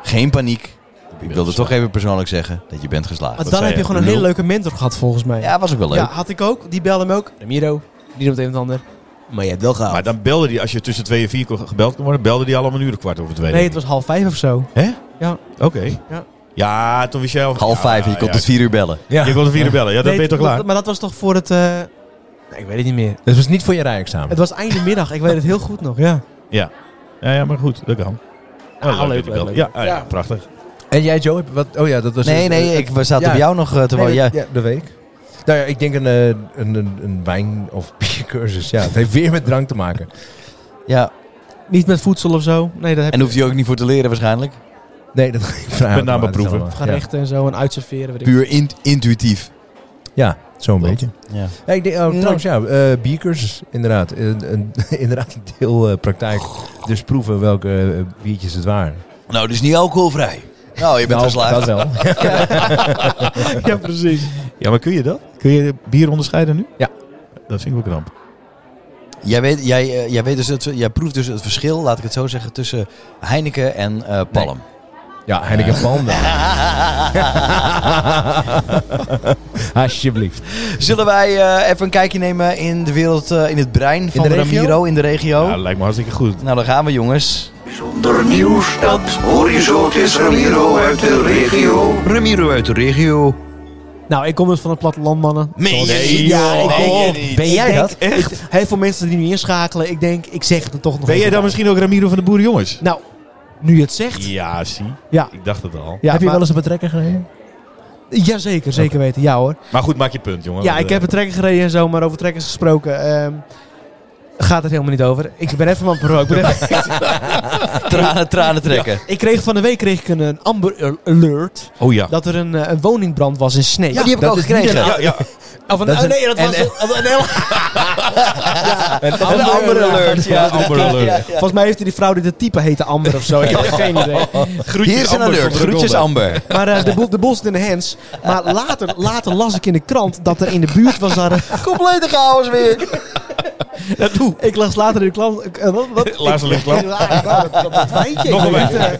[SPEAKER 1] Geen paniek. Ik wilde toch even persoonlijk zeggen dat je bent
[SPEAKER 4] Maar
[SPEAKER 1] geslaagd.
[SPEAKER 4] dan
[SPEAKER 2] zei
[SPEAKER 4] heb je
[SPEAKER 2] je?
[SPEAKER 4] gewoon een hele
[SPEAKER 2] Nul.
[SPEAKER 4] leuke mentor gehad, volgens mij.
[SPEAKER 1] Ja, was ook wel leuk.
[SPEAKER 4] Ja, had ik ook. Die belde me ook. Ramiro, die doet het een en ander. Maar je hebt wel
[SPEAKER 2] hoor.
[SPEAKER 4] gehaald.
[SPEAKER 2] Maar dan belde die, als je tussen twee en vier kon- gebeld kon worden, belde die al om een uur of kwart over twee.
[SPEAKER 4] Nee, het was half vijf of zo.
[SPEAKER 2] Hè?
[SPEAKER 4] Ja.
[SPEAKER 2] Oké.
[SPEAKER 4] Ja.
[SPEAKER 2] Ja. toen wist jij al...
[SPEAKER 1] Half
[SPEAKER 2] Ja,
[SPEAKER 1] vijf en je kon dus-
[SPEAKER 2] ja,
[SPEAKER 1] tot vier uur bellen.
[SPEAKER 6] Ja.
[SPEAKER 2] Je kon om vier uur bellen. Ja, dan
[SPEAKER 4] Nee,
[SPEAKER 2] ben je toch
[SPEAKER 4] dat-
[SPEAKER 2] klaar?
[SPEAKER 4] Maar dat was toch voor het... eh, nee, ik weet het niet meer.
[SPEAKER 6] Dat was niet voor je rijexamen.
[SPEAKER 4] Het was einde middag. Ik weet het heel goed nog, ja.
[SPEAKER 2] Ja, ja, maar goed. Dat kan.
[SPEAKER 4] Ah,
[SPEAKER 2] Oh, dat
[SPEAKER 4] leuk,
[SPEAKER 2] je
[SPEAKER 4] leuk,
[SPEAKER 2] belt.
[SPEAKER 4] leuk.
[SPEAKER 2] Ja, ah, ja,
[SPEAKER 4] Ja.
[SPEAKER 2] prachtig.
[SPEAKER 6] En jij, Joe? heb- Wat, oh ja, dat was...
[SPEAKER 1] Nee, nee,
[SPEAKER 6] eh,
[SPEAKER 1] ik we zaten
[SPEAKER 6] ja.
[SPEAKER 1] bij jou nog eh, te
[SPEAKER 6] Nee,
[SPEAKER 1] wachten. Ja,
[SPEAKER 6] dat- ja, dat weet ik. Nou ja, ik denk een, eh, een, een, een wijn- of biercursus. Ja, het heeft weer met drank te maken.
[SPEAKER 1] ja.
[SPEAKER 4] Niet met voedsel of zo. Nee, dat heb
[SPEAKER 1] En hoefde je ook niet voor te leren waarschijnlijk.
[SPEAKER 6] Nee, dat ging vrij
[SPEAKER 2] Met name
[SPEAKER 6] automatisch
[SPEAKER 2] proeven.
[SPEAKER 6] allemaal.
[SPEAKER 4] gerechten en zo en uitserveren. weet ik.
[SPEAKER 1] Puur in- intuïtief.
[SPEAKER 6] Ja, ja zo'n
[SPEAKER 1] Klopt.
[SPEAKER 6] beetje.
[SPEAKER 1] Ja.
[SPEAKER 6] Ja, ik denk, oh,
[SPEAKER 4] Mm.
[SPEAKER 6] trouwens, ja, eh, biercursus, inderdaad. Eh, Een, een, inderdaad, een deelpraktijk. dus proeven welke eh, biertjes het waren.
[SPEAKER 1] Nou, dus niet alcoholvrij. Nou, je bent
[SPEAKER 6] Nou,
[SPEAKER 1] geslaagd.
[SPEAKER 6] Dat wel.
[SPEAKER 4] Ja, precies.
[SPEAKER 2] Ja, maar kun je dat? Kun je bier onderscheiden nu?
[SPEAKER 6] Ja.
[SPEAKER 2] Dat vind ik wel knap.
[SPEAKER 1] Jij, weet, jij, eh, jij, weet dus het, jij proeft dus het verschil, laat ik het zo zeggen, tussen Heineken en eh, Palm.
[SPEAKER 6] Ja, Heineken Panda. Alsjeblieft.
[SPEAKER 1] Zullen wij eh, even een kijkje nemen in de wereld, eh, in het brein van
[SPEAKER 6] de regio?
[SPEAKER 1] Ramiro in de regio?
[SPEAKER 2] Ja, lijkt me hartstikke goed.
[SPEAKER 1] Nou, daar gaan we jongens.
[SPEAKER 7] Zonder nieuws, dat hoor je zo. Het is Ramiro uit de regio.
[SPEAKER 1] Ramiro uit de regio.
[SPEAKER 4] Nou, ik kom dus van het platteland, mannen.
[SPEAKER 1] Nee,
[SPEAKER 4] ja, ik denk,
[SPEAKER 6] Ben jij
[SPEAKER 4] ik denk-
[SPEAKER 6] dat?
[SPEAKER 4] Echt? Heel veel mensen die nu inschakelen, ik denk, ik zeg het er toch nog
[SPEAKER 2] Ben jij
[SPEAKER 4] even
[SPEAKER 2] dan
[SPEAKER 4] bij.
[SPEAKER 2] misschien ook Ramiro van de Boeren Jongens?
[SPEAKER 4] Nou, nu je het zegt.
[SPEAKER 2] Ja, zie.
[SPEAKER 4] Ja.
[SPEAKER 2] Ik dacht het al.
[SPEAKER 4] Ja,
[SPEAKER 6] Heb je
[SPEAKER 4] maar-
[SPEAKER 6] wel eens op een trekker gereden?
[SPEAKER 4] Jazeker, zeker weten. Ja hoor.
[SPEAKER 2] Maar goed, maak je punt, jongen.
[SPEAKER 4] Ja,
[SPEAKER 2] Want,
[SPEAKER 4] ik heb
[SPEAKER 2] Oh, eh,
[SPEAKER 4] een trekker gereden en zo, maar over trekkers gesproken. ehm, Gaat het helemaal niet over. Ik ben even mijn bureau. Ik, ben even-
[SPEAKER 1] Tranen, tranen trekken.
[SPEAKER 4] ik kreeg van de week kreeg ik een, een Amber Alert.
[SPEAKER 1] Oh ja.
[SPEAKER 4] Dat er een, eh, een woningbrand was in Sneek.
[SPEAKER 1] die heb ik
[SPEAKER 6] dat
[SPEAKER 1] ook
[SPEAKER 6] is niet
[SPEAKER 1] gekregen.
[SPEAKER 6] een-
[SPEAKER 1] Ja, ja.
[SPEAKER 4] Of een,
[SPEAKER 6] Dat is
[SPEAKER 4] oh
[SPEAKER 6] een-
[SPEAKER 4] nee, dat was
[SPEAKER 1] en-
[SPEAKER 4] een, een, een heel-
[SPEAKER 1] Een andere alert. Ja,
[SPEAKER 2] Amber Alert.
[SPEAKER 4] Volgens mij heeft die vrouw die de type heette Amber of zo. Ik heb geen idee.
[SPEAKER 1] Hier is een
[SPEAKER 2] Amber van
[SPEAKER 1] alert.
[SPEAKER 2] de
[SPEAKER 1] Groetjes
[SPEAKER 2] Ronde.
[SPEAKER 1] Amber.
[SPEAKER 4] Maar eh, de, boel, de boel zit in de hands. Maar later, later las ik in de krant dat er in de buurt was daar... een-
[SPEAKER 1] Complete chaos weer.
[SPEAKER 4] Ik las later in de krant... ik- eh, wat, wat?
[SPEAKER 2] Laatste
[SPEAKER 4] Ik-
[SPEAKER 2] linkklap.
[SPEAKER 4] Ja, dat- dat- dat feitje.
[SPEAKER 2] Nog een
[SPEAKER 4] Ik weet,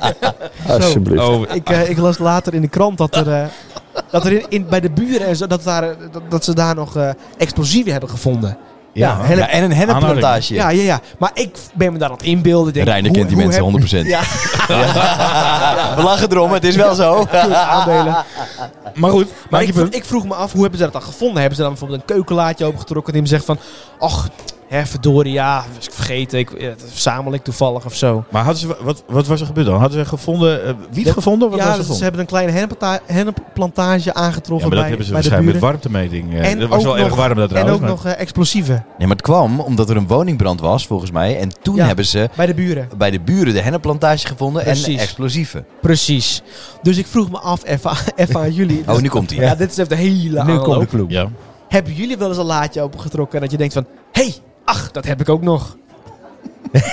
[SPEAKER 4] eh,
[SPEAKER 3] Alsjeblieft.
[SPEAKER 2] Oh,
[SPEAKER 4] Ik, eh, ik las later in de krant dat er, eh, dat er in, in- bij de buren en zo, dat, daar, eh, dat, dat ze daar nog eh, explosieven hebben gevonden.
[SPEAKER 1] Ja,
[SPEAKER 4] hele-
[SPEAKER 1] ja, en een hennepplantage.
[SPEAKER 4] Ja, ja, ja. Maar ik ben me daar aan het inbeelden. Ik Denk,
[SPEAKER 1] Reiner
[SPEAKER 4] hoe-
[SPEAKER 1] kent die
[SPEAKER 4] hoe
[SPEAKER 1] mensen 100%.
[SPEAKER 4] Ja.
[SPEAKER 1] We lachen erom, het is wel zo.
[SPEAKER 4] heb- aandelen.
[SPEAKER 2] maar goed,
[SPEAKER 4] Maar
[SPEAKER 2] maak je
[SPEAKER 4] ik,
[SPEAKER 2] punt.
[SPEAKER 4] ik vroeg me af, hoe hebben ze dat dan gevonden? Hebben ze dan bijvoorbeeld een keukenlaadje opengetrokken die hem zegt van... Och, hè, verdorie, ja, was ik vergeten. Ik, eh, dat verzamel ik toevallig of zo.
[SPEAKER 2] Maar hadden ze, wat, wat was er gebeurd dan? Hadden ze gevonden, eh, wiet gevonden? Wat
[SPEAKER 4] ja,
[SPEAKER 2] was er
[SPEAKER 4] ze
[SPEAKER 2] gevonden?
[SPEAKER 4] hebben een kleine henneppata- hennepplantage
[SPEAKER 2] Ja,
[SPEAKER 4] aangetroffen
[SPEAKER 2] maar dat
[SPEAKER 4] bij,
[SPEAKER 2] hebben ze
[SPEAKER 4] bij de
[SPEAKER 2] waarschijnlijk met
[SPEAKER 4] buren.
[SPEAKER 2] warmtemeting. eh,
[SPEAKER 4] En
[SPEAKER 2] dat was
[SPEAKER 4] ook
[SPEAKER 2] wel erg
[SPEAKER 4] nog-
[SPEAKER 2] warm dat
[SPEAKER 4] En
[SPEAKER 2] trouwens.
[SPEAKER 4] ook nog eh, explosieven
[SPEAKER 1] Nee, maar het kwam omdat er een woningbrand was, volgens mij. En toen
[SPEAKER 4] Ja.
[SPEAKER 1] hebben ze
[SPEAKER 4] bij de buren.
[SPEAKER 1] bij de buren de hennepplantage gevonden en
[SPEAKER 4] Precies.
[SPEAKER 1] explosieven.
[SPEAKER 4] Precies. Dus ik vroeg me af, even, aan- even aan jullie.
[SPEAKER 1] Oh, nu komt hij.
[SPEAKER 4] Ja, dit is even de hele
[SPEAKER 6] Nu
[SPEAKER 4] aanloop.
[SPEAKER 6] komt de clue.
[SPEAKER 2] Ja.
[SPEAKER 4] Hebben jullie wel eens een laadje opengetrokken en dat je denkt van... Hé, hey, ach, dat heb ik ook nog. dat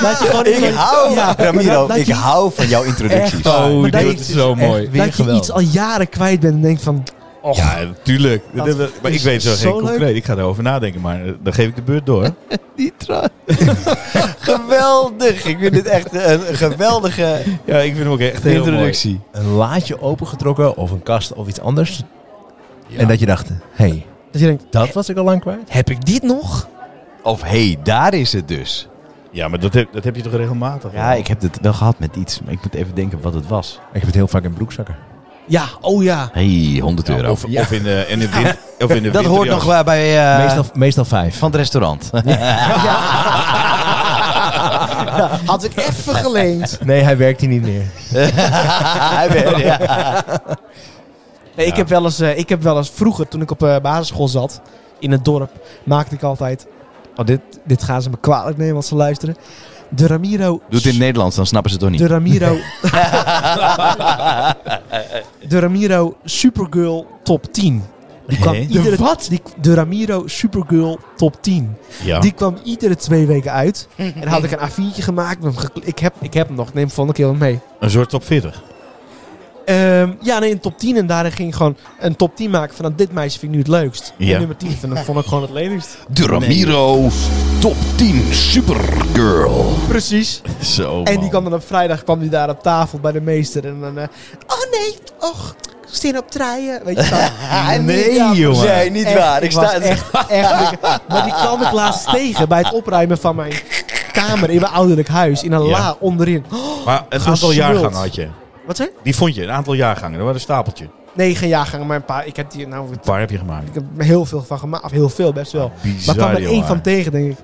[SPEAKER 4] je gewoon
[SPEAKER 1] Ik hou,
[SPEAKER 4] Ja, maar
[SPEAKER 1] Ramiro,
[SPEAKER 4] dat- dat
[SPEAKER 1] ik
[SPEAKER 4] je-
[SPEAKER 1] hou van jouw introducties.
[SPEAKER 4] Echt waar.
[SPEAKER 2] Oh,
[SPEAKER 4] Maar dat
[SPEAKER 2] dit
[SPEAKER 4] is
[SPEAKER 2] is zo mooi.
[SPEAKER 6] Weer
[SPEAKER 4] Dat je
[SPEAKER 6] geweldig.
[SPEAKER 4] iets al jaren kwijt bent en denkt van... Och,
[SPEAKER 2] Ja, natuurlijk.
[SPEAKER 4] Dat
[SPEAKER 2] Dat- dat- maar ik
[SPEAKER 4] is
[SPEAKER 2] weet zo
[SPEAKER 4] zo
[SPEAKER 2] geen
[SPEAKER 4] leuk.
[SPEAKER 2] concreet. Ik ga erover nadenken, maar eh, dan geef ik de beurt door.
[SPEAKER 1] Die tra- Geweldig. Ik vind dit echt een geweldige
[SPEAKER 2] Ja, ik vind hem ook echt heel
[SPEAKER 1] introductie.
[SPEAKER 6] Een laadje opengetrokken of een kast of iets anders. En dat je dacht, hé, hey,
[SPEAKER 4] dat je denkt,
[SPEAKER 6] dat was ik al lang kwijt.
[SPEAKER 4] heb ik dit nog?
[SPEAKER 1] Of hé, hey, daar is het dus.
[SPEAKER 2] mooi. Ja, maar dat heb, dat heb je toch regelmatig?
[SPEAKER 1] Ja, ik heb dit wel gehad met iets, maar ik moet even denken wat het was.
[SPEAKER 6] Ik heb het heel vaak in broekzakken.
[SPEAKER 4] Ja, oh ja.
[SPEAKER 1] Hé, hey, 100
[SPEAKER 2] Ja,
[SPEAKER 1] euro.
[SPEAKER 2] of, of in de, in de win- of in de
[SPEAKER 1] dat hoort nog
[SPEAKER 2] winterjas.
[SPEAKER 1] wel bij eh,
[SPEAKER 6] meestal, meestal vijf.
[SPEAKER 1] van het restaurant.
[SPEAKER 4] Had ik even geleend.
[SPEAKER 6] Nee, hij werkt hier niet meer.
[SPEAKER 1] Hij weet- ja.
[SPEAKER 4] Nee, ik,
[SPEAKER 2] Ja.
[SPEAKER 4] heb wel eens, eh, ik heb wel eens vroeger, toen ik op eh, basisschool zat, in het dorp, maakte ik altijd... Oh, dit, dit gaan ze me kwalijk nemen als ze luisteren. De Ramiro...
[SPEAKER 1] Doe het in het Nederlands, dan snappen ze het toch
[SPEAKER 4] De
[SPEAKER 1] niet.
[SPEAKER 4] Ramiro... de Ramiro Supergirl Top 10. Die kwam
[SPEAKER 2] Hè?
[SPEAKER 4] iedere, wat? Die, de Ramiro Supergirl Top 10.
[SPEAKER 2] Ja.
[SPEAKER 4] Die kwam iedere twee weken uit. En dan had ik een A4'tje gemaakt. met hem gekle- Ik heb, ik heb hem nog. Ik neem hem volgende keer wel mee.
[SPEAKER 2] Een soort top 40.
[SPEAKER 4] Ehm, ja, nee, een top 10. En daarin ging ik gewoon een top 10 maken van nou, dit meisje vind ik nu het leukst.
[SPEAKER 2] Ja.
[SPEAKER 4] En nummer 10 vind ik, vond ik gewoon het lelijkst.
[SPEAKER 1] De Ramiro Top 10 Supergirl.
[SPEAKER 4] Precies.
[SPEAKER 2] Zo,
[SPEAKER 4] en
[SPEAKER 2] man.
[SPEAKER 4] die kwam dan op vrijdag kwam die daar op tafel bij de meester. En dan, eh, oh nee, och, ik steen op treien. Weet je wel.
[SPEAKER 2] Nee,
[SPEAKER 4] Ja,
[SPEAKER 2] jongen.
[SPEAKER 1] Nee, niet
[SPEAKER 4] echt,
[SPEAKER 1] waar. Ik
[SPEAKER 4] was
[SPEAKER 1] sta
[SPEAKER 4] echt, echt. ik- maar die kwam ik laatst tegen bij het opruimen van mijn kamer in mijn ouderlijk huis. In een
[SPEAKER 2] Ja.
[SPEAKER 4] la onderin.
[SPEAKER 2] Maar een aantal
[SPEAKER 4] gesmuld.
[SPEAKER 2] jaargangen had je.
[SPEAKER 4] Wat zei?
[SPEAKER 2] Die vond je, een aantal jaargangen. Dat was een stapeltje. Een
[SPEAKER 4] Nee, geen jaargang, maar een paar. Ik heb die, nou,
[SPEAKER 2] paar heb je gemaakt.
[SPEAKER 4] ik heb er heel veel van gemaakt. Of heel veel, best wel. Maar
[SPEAKER 2] Bizar,
[SPEAKER 4] ik kwam er één
[SPEAKER 2] jongen.
[SPEAKER 4] van tegen, denk ik.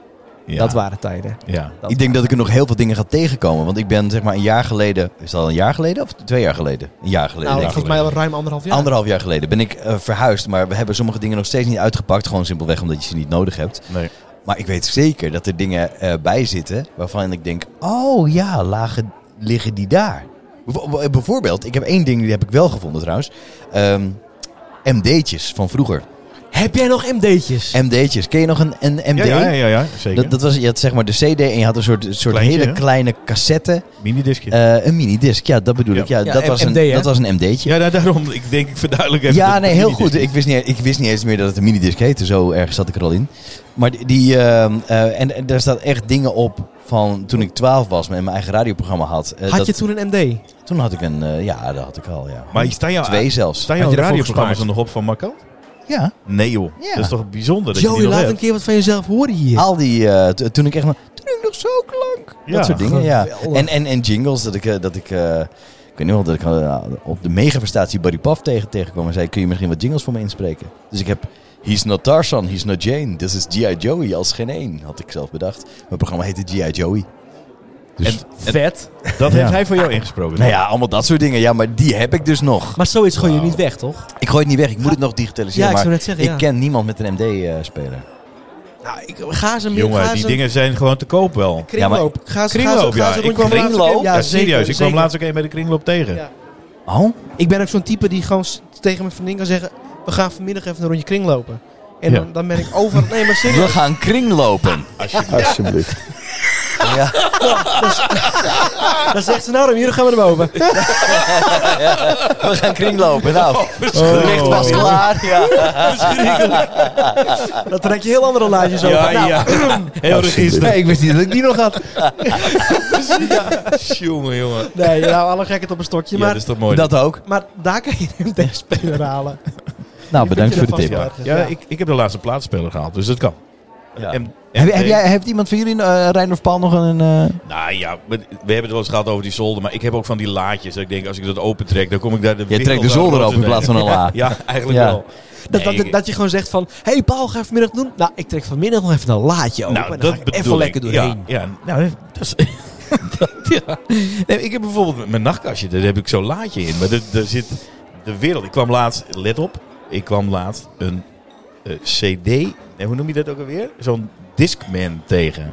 [SPEAKER 2] Ja.
[SPEAKER 4] Dat waren tijden.
[SPEAKER 2] Ja.
[SPEAKER 1] Ik denk dat ik er nog heel veel dingen ga tegenkomen. Want ik ben zeg maar een jaar geleden... Is dat al een jaar geleden of twee jaar geleden? Een jaar geleden.
[SPEAKER 4] Nou,
[SPEAKER 1] denk ik.
[SPEAKER 4] volgens mij al ruim anderhalf jaar.
[SPEAKER 1] Anderhalf jaar geleden ben ik eh, verhuisd. Maar we hebben sommige dingen nog steeds niet uitgepakt. Gewoon simpelweg omdat je ze niet nodig hebt.
[SPEAKER 2] Nee.
[SPEAKER 1] Maar ik weet zeker dat er dingen eh, bij zitten waarvan ik denk... Oh ja, lagen, liggen die daar? Bijvo- Bijvoorbeeld, ik heb één ding, die heb ik wel gevonden trouwens. Ehm, MD'tjes van vroeger.
[SPEAKER 4] Heb jij nog MD'tjes?
[SPEAKER 1] MD'tjes. Ken je nog een, een MD?
[SPEAKER 2] Ja, ja, ja, ja, ja, zeker.
[SPEAKER 1] Dat, dat was, je had zeg maar de CD en je had een soort, soort
[SPEAKER 2] Kleintje,
[SPEAKER 1] hele
[SPEAKER 2] hè?
[SPEAKER 1] kleine cassette.
[SPEAKER 2] Minidiskje.
[SPEAKER 1] eh, een minidisc, ja, dat bedoel
[SPEAKER 2] Ja.
[SPEAKER 1] ik. Ja,
[SPEAKER 4] Ja,
[SPEAKER 1] dat,
[SPEAKER 4] M-
[SPEAKER 1] was
[SPEAKER 4] MD,
[SPEAKER 1] een,
[SPEAKER 4] hè?
[SPEAKER 1] dat was een MD'tje.
[SPEAKER 2] ja, nou, daarom. Ik denk, ik verduidelijk
[SPEAKER 1] Ja,
[SPEAKER 2] even. dat het
[SPEAKER 1] nee,
[SPEAKER 2] een
[SPEAKER 1] heel
[SPEAKER 2] minidisc
[SPEAKER 1] goed. Ik
[SPEAKER 2] is.
[SPEAKER 1] wist, niet, ik wist niet eens meer dat het een minidisc heette. Zo erg zat ik er al in. Maar die, die, ehm, eh, en, en daar staat echt dingen op van toen ik 12 was en mijn eigen radioprogramma had. Eh,
[SPEAKER 4] Had
[SPEAKER 1] dat-
[SPEAKER 4] je toen een MD?
[SPEAKER 1] Toen had ik een, eh, ja, dat had ik al, ja.
[SPEAKER 2] Maar staan jouw,
[SPEAKER 1] Twee zelfs.
[SPEAKER 2] staan
[SPEAKER 6] Had
[SPEAKER 2] jouw
[SPEAKER 6] je ervoor
[SPEAKER 2] radioprogramma's er
[SPEAKER 6] gespaard?
[SPEAKER 2] nog op van Marco?
[SPEAKER 1] Ja.
[SPEAKER 2] Nee joh,
[SPEAKER 1] Ja.
[SPEAKER 2] dat is toch bijzonder dat je
[SPEAKER 4] Joey,
[SPEAKER 2] die nog
[SPEAKER 4] laat
[SPEAKER 2] hebt.
[SPEAKER 4] een keer wat van jezelf horen hier.
[SPEAKER 1] Al die, eh, t- toen ik echt nog, toen ik nog zo klonk.
[SPEAKER 2] Ja,
[SPEAKER 1] dat soort dingen, ja.
[SPEAKER 4] geweldig.
[SPEAKER 1] En, en, en jingles, dat ik, eh, dat ik, eh, ik weet niet wel, dat ik eh, op de megaverstatie Buddy Puff tegen, tegenkwam en zei, kun je misschien wat jingles voor me inspreken? Dus ik heb, he's not Tarzan, he's not Jane, this is G.I. Joey als geen één, had ik zelf bedacht. Mijn programma heette G.I. Joey. Dus,
[SPEAKER 2] En
[SPEAKER 4] Vet.
[SPEAKER 2] dat
[SPEAKER 6] Ja.
[SPEAKER 2] heeft hij voor jou ingesproken.
[SPEAKER 1] nou ja, allemaal dat soort dingen. Ja, maar die heb ik dus nog.
[SPEAKER 4] Maar zoiets gooi je niet weg, toch?
[SPEAKER 1] Ik gooi het niet weg, ik moet het nog digitaliseren.
[SPEAKER 4] Ja, ik
[SPEAKER 1] maar
[SPEAKER 4] zou net zeggen,
[SPEAKER 1] ik
[SPEAKER 4] ja.
[SPEAKER 1] ken niemand met een MD-speler.
[SPEAKER 4] Nou, ik ga ze meer.
[SPEAKER 2] Jongen,
[SPEAKER 4] ga
[SPEAKER 2] die
[SPEAKER 4] ze-
[SPEAKER 2] dingen zijn gewoon te koop wel.
[SPEAKER 4] Kringloop. ga ze,
[SPEAKER 2] Kringloop,
[SPEAKER 4] ga ze, ga
[SPEAKER 2] ja.
[SPEAKER 4] ze
[SPEAKER 2] Ik
[SPEAKER 4] rondje om de
[SPEAKER 1] kringloop?
[SPEAKER 4] laatste keer-
[SPEAKER 2] Ja,
[SPEAKER 4] zeker,
[SPEAKER 2] serieus. Ik kwam
[SPEAKER 4] zeker.
[SPEAKER 2] laatst ook een bij de kringloop tegen.
[SPEAKER 4] Ja.
[SPEAKER 1] Oh?
[SPEAKER 4] Ik ben ook zo'n type die gewoon s- tegen mijn vriendin kan zeggen... We gaan vanmiddag even een rondje kringlopen. En
[SPEAKER 2] Ja.
[SPEAKER 4] dan, dan ben ik over... Nee, maar
[SPEAKER 1] We
[SPEAKER 4] serieus.
[SPEAKER 1] gaan kringlopen.
[SPEAKER 2] Oh.
[SPEAKER 3] Alsjeblieft.
[SPEAKER 1] Ja.
[SPEAKER 4] Dan zegt ze, nou Remy, dan gaan we naar boven.
[SPEAKER 1] We gaan kringlopen.
[SPEAKER 2] Oh,
[SPEAKER 1] Nou,
[SPEAKER 2] Verschrikkelijk.
[SPEAKER 1] licht was klaar. Ja.
[SPEAKER 4] Dan trek je heel andere lijntjes over. Nou,
[SPEAKER 2] Ja, ja. Heel register.
[SPEAKER 6] ik wist niet dat ik die nog had.
[SPEAKER 2] Jongen, jongen.
[SPEAKER 4] Nee, nou, alle gekheid op een stokje.
[SPEAKER 2] Ja, dus-
[SPEAKER 4] Maar,
[SPEAKER 2] dat is toch mooi.
[SPEAKER 1] Dat ook.
[SPEAKER 4] maar daar kan je hem tegen speler halen.
[SPEAKER 1] Nou, bedankt
[SPEAKER 4] je
[SPEAKER 1] voor de
[SPEAKER 4] dat
[SPEAKER 1] tip.
[SPEAKER 4] vast
[SPEAKER 2] ja, ja, Ik, ik heb de laatste plaatsspeler gehaald, dus dat kan.
[SPEAKER 1] Ja.
[SPEAKER 2] En, en-
[SPEAKER 6] Heb, heb jij, heeft iemand van jullie, eh Rijn of Paul, nog een... eh,
[SPEAKER 2] Nou ja, we we hebben het wel eens gehad over die zolder, maar ik heb ook van die laadjes. Dat ik denk, als ik dat opentrek, dan kom ik daar de
[SPEAKER 1] Je
[SPEAKER 2] wikkel
[SPEAKER 1] trekt de
[SPEAKER 2] daar
[SPEAKER 1] zolder
[SPEAKER 2] rond
[SPEAKER 1] open in
[SPEAKER 2] en-
[SPEAKER 1] plaats van een la.
[SPEAKER 2] Ja, eigenlijk
[SPEAKER 1] Ja.
[SPEAKER 2] wel.
[SPEAKER 4] Dat, dat,
[SPEAKER 2] Nee,
[SPEAKER 4] dat, je gewoon zegt van... Hé hey, Paul, ga je vanmiddag doen? Nou, ik trek vanmiddag nog even een laadje open.
[SPEAKER 2] Nou,
[SPEAKER 4] en dan
[SPEAKER 2] dat
[SPEAKER 4] ga ik
[SPEAKER 2] bedoel
[SPEAKER 4] even
[SPEAKER 2] ik.
[SPEAKER 4] lekker doorheen.
[SPEAKER 2] Ja, ja nou, dat is... dat, ja. Nee, ik heb bijvoorbeeld met mijn nachtkastje, daar heb ik zo'n laadje in. Maar er, er zit de wereld. Ik kwam laatst, let op, ik kwam laatst een eh, CD, nee, hoe noem je dat ook alweer? Zo'n Discman tegen.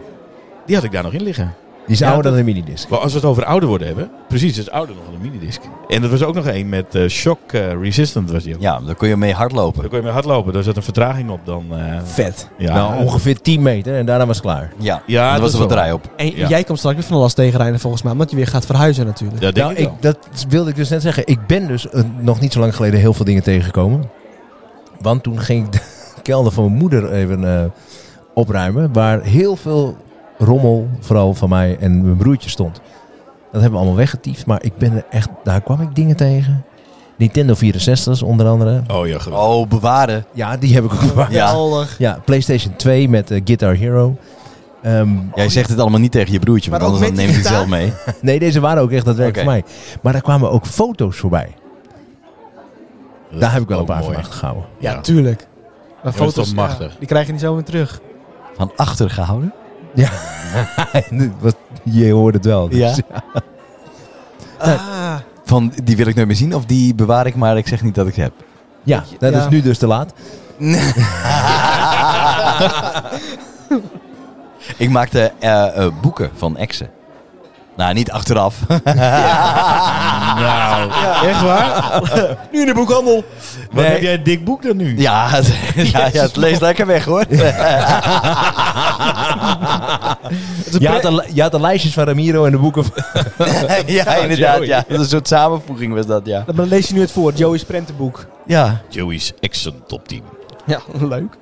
[SPEAKER 2] Die had ik daar nog in liggen.
[SPEAKER 6] die is
[SPEAKER 2] Ja,
[SPEAKER 6] ouder
[SPEAKER 2] dat-
[SPEAKER 6] dan een minidisc.
[SPEAKER 2] Maar als we het over ouder worden hebben, precies, het is ouder nog dan een minidisc. En dat was ook nog één met eh, shock eh, resistant was die ook.
[SPEAKER 1] Ja, daar kun je mee hardlopen.
[SPEAKER 2] Daar kon je mee hardlopen, daar zat een vertraging op dan. eh,
[SPEAKER 4] Vet.
[SPEAKER 2] ja,
[SPEAKER 6] Nou, ongeveer 10 meter en daarna was het klaar.
[SPEAKER 1] Ja,
[SPEAKER 2] Ja,
[SPEAKER 1] daar
[SPEAKER 2] dat
[SPEAKER 1] was
[SPEAKER 2] is
[SPEAKER 1] er wat
[SPEAKER 2] wel.
[SPEAKER 1] draai op.
[SPEAKER 4] En
[SPEAKER 2] Ja.
[SPEAKER 4] jij komt straks weer van de last tegenrijden volgens mij. Omdat je weer gaat verhuizen natuurlijk.
[SPEAKER 2] dat denk
[SPEAKER 6] Nou,
[SPEAKER 2] ik wel.
[SPEAKER 6] ik, dat wilde ik dus net zeggen. Ik ben dus eh, nog niet zo lang geleden heel veel dingen tegengekomen. Want toen ging ik de kelder van mijn moeder even eh, opruimen. Waar heel veel rommel, vooral van mij en mijn broertje, stond. Dat hebben we allemaal weggetiefd. Maar ik ben er echt, daar kwam ik dingen tegen. Nintendo 64's onder andere.
[SPEAKER 2] Oh ja, geweldig.
[SPEAKER 1] Oh, bewaren.
[SPEAKER 6] Ja, die heb ik ook bewaard. Ja.
[SPEAKER 1] Ja.
[SPEAKER 4] Geweldig.
[SPEAKER 6] PlayStation 2 met eh, Guitar Hero. Ehm,
[SPEAKER 1] Jij zegt het allemaal niet tegen je broertje, want
[SPEAKER 4] Maar ook
[SPEAKER 1] anders dan
[SPEAKER 4] met
[SPEAKER 1] neemt hij
[SPEAKER 4] die
[SPEAKER 1] het zelf mee.
[SPEAKER 6] nee, deze waren ook echt dat werk
[SPEAKER 1] Oké.
[SPEAKER 6] voor mij. Maar daar kwamen ook foto's voorbij.
[SPEAKER 2] Dat
[SPEAKER 6] Daar
[SPEAKER 2] is
[SPEAKER 6] heb ik wel een
[SPEAKER 2] ook
[SPEAKER 6] paar
[SPEAKER 2] mooi.
[SPEAKER 6] van achtergehouden.
[SPEAKER 4] Ja,
[SPEAKER 2] Ja.
[SPEAKER 4] tuurlijk. Maar
[SPEAKER 2] dat is
[SPEAKER 4] foto's,
[SPEAKER 2] toch
[SPEAKER 4] ja,
[SPEAKER 2] machtig.
[SPEAKER 4] die krijg je niet zo meer terug.
[SPEAKER 1] Van achter gehouden?
[SPEAKER 6] Wat- je hoort het wel. dus-
[SPEAKER 1] Ja.
[SPEAKER 4] Ah,
[SPEAKER 1] Van, die wil ik nooit meer zien of die bewaar ik, maar ik zeg niet dat ik ze heb.
[SPEAKER 6] Ja, nou, dat
[SPEAKER 4] Ja.
[SPEAKER 6] is nu dus te laat.
[SPEAKER 1] Ik maakte eh, eh, boeken van exen. Nou, niet achteraf.
[SPEAKER 2] Nou,
[SPEAKER 4] echt waar? nu in de boekhandel.
[SPEAKER 2] wat heb jij een dik boek dan nu?
[SPEAKER 1] Ja, het, ja, ja, het leest lekker weg hoor.
[SPEAKER 6] Je had, de, je had de lijstjes van Ramiro en de boeken van...
[SPEAKER 1] ja, inderdaad. Ja. Dat is een soort samenvoeging was dat, ja.
[SPEAKER 4] Dan lees je nu het voor. Joey's prentenboek.
[SPEAKER 1] Ja.
[SPEAKER 2] Joey's Action Top 10.
[SPEAKER 4] Ja, leuk.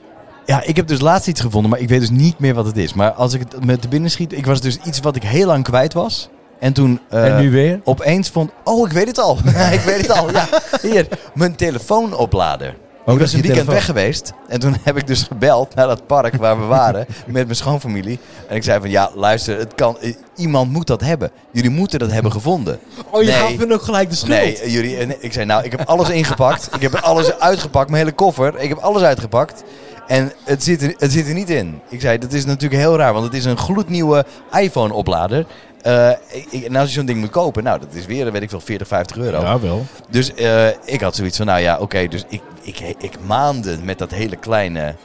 [SPEAKER 1] ja, ik heb dus laatst iets gevonden, maar ik weet dus niet meer wat het is. Maar als ik het me te binnen schiet, ik was dus iets wat ik heel lang kwijt was. En toen... eh,
[SPEAKER 6] en nu weer.
[SPEAKER 1] Opeens vond, oh, ik weet het al. ik weet het al, ja. Hier, mijn telefoon opladen.
[SPEAKER 6] Ook
[SPEAKER 1] ik was
[SPEAKER 6] Oh, je
[SPEAKER 1] een weekend
[SPEAKER 6] telefoon-
[SPEAKER 1] weg geweest. En toen heb ik dus gebeld naar dat park waar we waren. met mijn schoonfamilie. En ik zei van, ja, luister, het kan, i- iemand moet dat hebben. Jullie moeten dat hebben gevonden.
[SPEAKER 4] Oh, je
[SPEAKER 1] Nee.
[SPEAKER 4] gaf hun ook gelijk de schuld.
[SPEAKER 1] Nee, eh, jullie, eh, nee, ik zei, nou, ik heb alles ingepakt. ik heb alles uitgepakt, mijn hele koffer. Ik heb alles uitgepakt. En het zit, er, het zit er niet in. Ik zei, dat is natuurlijk heel raar, want het is een gloednieuwe iPhone-oplader. Eh, ik- ik- en als je zo'n ding moet kopen, nou, dat is weer, weet ik veel, 40, 50 euro.
[SPEAKER 2] Ja, wel.
[SPEAKER 1] Dus eh, ik had zoiets van, nou ja, oké, dus ik, ik, ik maanden met dat hele kleine,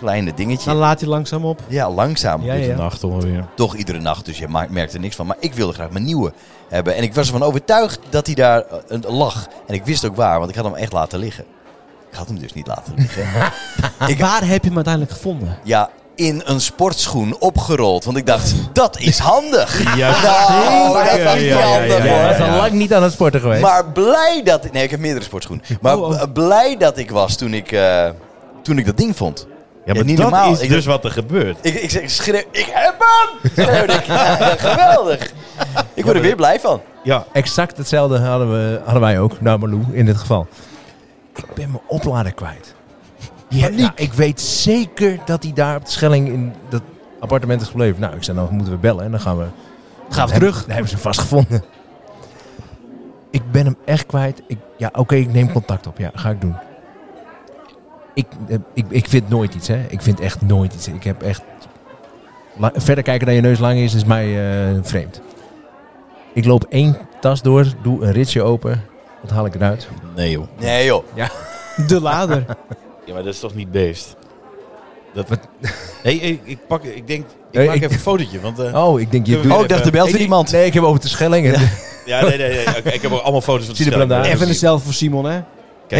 [SPEAKER 1] kleine dingetje.
[SPEAKER 4] Dan laat hij langzaam op.
[SPEAKER 1] Ja, langzaam.
[SPEAKER 4] Nou,
[SPEAKER 1] Dus
[SPEAKER 4] Ja, ja.
[SPEAKER 2] Nacht ongeveer.
[SPEAKER 1] Toch iedere nacht, dus je ma- merkt er niks van. Maar ik wilde graag mijn nieuwe hebben. En ik was ervan overtuigd dat hij daar eh, een lag. En ik wist ook waar, want ik had hem echt laten liggen. Ik had hem dus niet laten liggen. Ik-
[SPEAKER 4] Waar heb je hem uiteindelijk gevonden?
[SPEAKER 1] ja, in een sportschoen opgerold. Want ik dacht, dat is handig.
[SPEAKER 2] Ja,
[SPEAKER 1] Nou, dat was niet
[SPEAKER 2] ja, ja,
[SPEAKER 1] handig,
[SPEAKER 2] ja,
[SPEAKER 1] hoor.
[SPEAKER 6] Ja, was
[SPEAKER 2] ja.
[SPEAKER 6] al lang niet aan het sporten geweest.
[SPEAKER 1] Maar blij dat ik... Nee, ik heb meerdere sportschoenen. Maar
[SPEAKER 4] Oh, oh.
[SPEAKER 1] b- blij dat ik was toen ik, eh, toen ik dat ding vond.
[SPEAKER 2] Ja, maar
[SPEAKER 1] Ja, niet
[SPEAKER 2] dat
[SPEAKER 1] normaal.
[SPEAKER 2] is
[SPEAKER 1] Ik-
[SPEAKER 2] dus wat er gebeurt.
[SPEAKER 1] Ik, ik, zeg- ik schreeuw, ik heb hem! Schreeuwde ik. Ja, geweldig. Ik word er weer blij van.
[SPEAKER 2] Ja.
[SPEAKER 6] Exact hetzelfde hadden, we, hadden wij ook. Nou, Malou in dit geval. Ik ben mijn oplader kwijt. Die heb- nou, ik weet zeker dat hij daar op de Schelling in dat appartement is gebleven. Nou, ik zei, nou moeten we bellen en dan gaan we...
[SPEAKER 4] Gaan we
[SPEAKER 6] Dan
[SPEAKER 4] terug.
[SPEAKER 6] hebben- Dan hebben ze hem vastgevonden. Ik ben hem echt kwijt. Ik, ja, oké, ik neem contact op. Ja, ga ik doen. Ik, eh, ik, ik vind nooit iets, hè. Ik vind echt nooit iets. Ik heb echt... La- verder kijken dan je neus lang is, is mij eh, vreemd. Ik loop één tas door, doe een ritje open. Wat haal ik eruit?
[SPEAKER 2] Nee joh.
[SPEAKER 1] Nee joh.
[SPEAKER 4] De lader.
[SPEAKER 2] Ja, maar dat is toch niet beest? Dat,
[SPEAKER 6] Wat?
[SPEAKER 2] Nee, ik, ik pak, ik denk, ik
[SPEAKER 6] Nee,
[SPEAKER 2] maak
[SPEAKER 6] ik-
[SPEAKER 2] even een fotootje. Want, eh,
[SPEAKER 6] Oh, ik denk
[SPEAKER 2] Kunnen we
[SPEAKER 6] je doet...
[SPEAKER 2] weer
[SPEAKER 1] Oh, ik dacht, er belt
[SPEAKER 6] Ik-
[SPEAKER 1] weer iemand.
[SPEAKER 6] Nee, ik heb over de Schelling. en-
[SPEAKER 2] Ja, nee, nee, nee. Oké, ik heb ook allemaal foto's van de
[SPEAKER 6] Zie je
[SPEAKER 2] Schelling.
[SPEAKER 6] de brandade?
[SPEAKER 2] Even
[SPEAKER 4] Even een stel voor Simon, hè?
[SPEAKER 2] Kijk,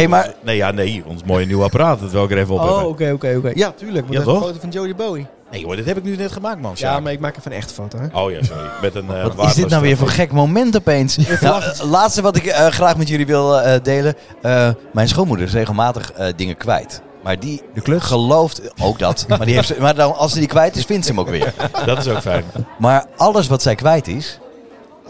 [SPEAKER 1] Hey, maar-
[SPEAKER 2] ons- nee, ja, nee, ons mooie nieuwe apparaat. Dat wil ik er even op
[SPEAKER 4] Oh,
[SPEAKER 2] hebben.
[SPEAKER 4] oké, oké, oké. Ja, tuurlijk.
[SPEAKER 2] Ja,
[SPEAKER 4] Ja,
[SPEAKER 2] toch?
[SPEAKER 4] een foto van Jodie Bowie.
[SPEAKER 2] Nee hoor, dit heb ik nu net gemaakt, man.
[SPEAKER 4] Ja, maar ik maak even een echte foto, hè?
[SPEAKER 2] Oh ja, sorry. Met een, eh,
[SPEAKER 1] Wat is
[SPEAKER 2] waardeloos
[SPEAKER 1] dit nou weer voor
[SPEAKER 2] telefoon.
[SPEAKER 1] gek moment opeens? Nou, het laatste wat ik eh, graag met jullie wil eh, delen. Eh, mijn schoonmoeder is regelmatig eh, dingen kwijt. Maar die gelooft ook dat. maar die heeft ze, maar dan, als ze die kwijt is, vindt ze hem ook weer.
[SPEAKER 2] Dat is ook fijn.
[SPEAKER 1] Maar alles wat zij kwijt is,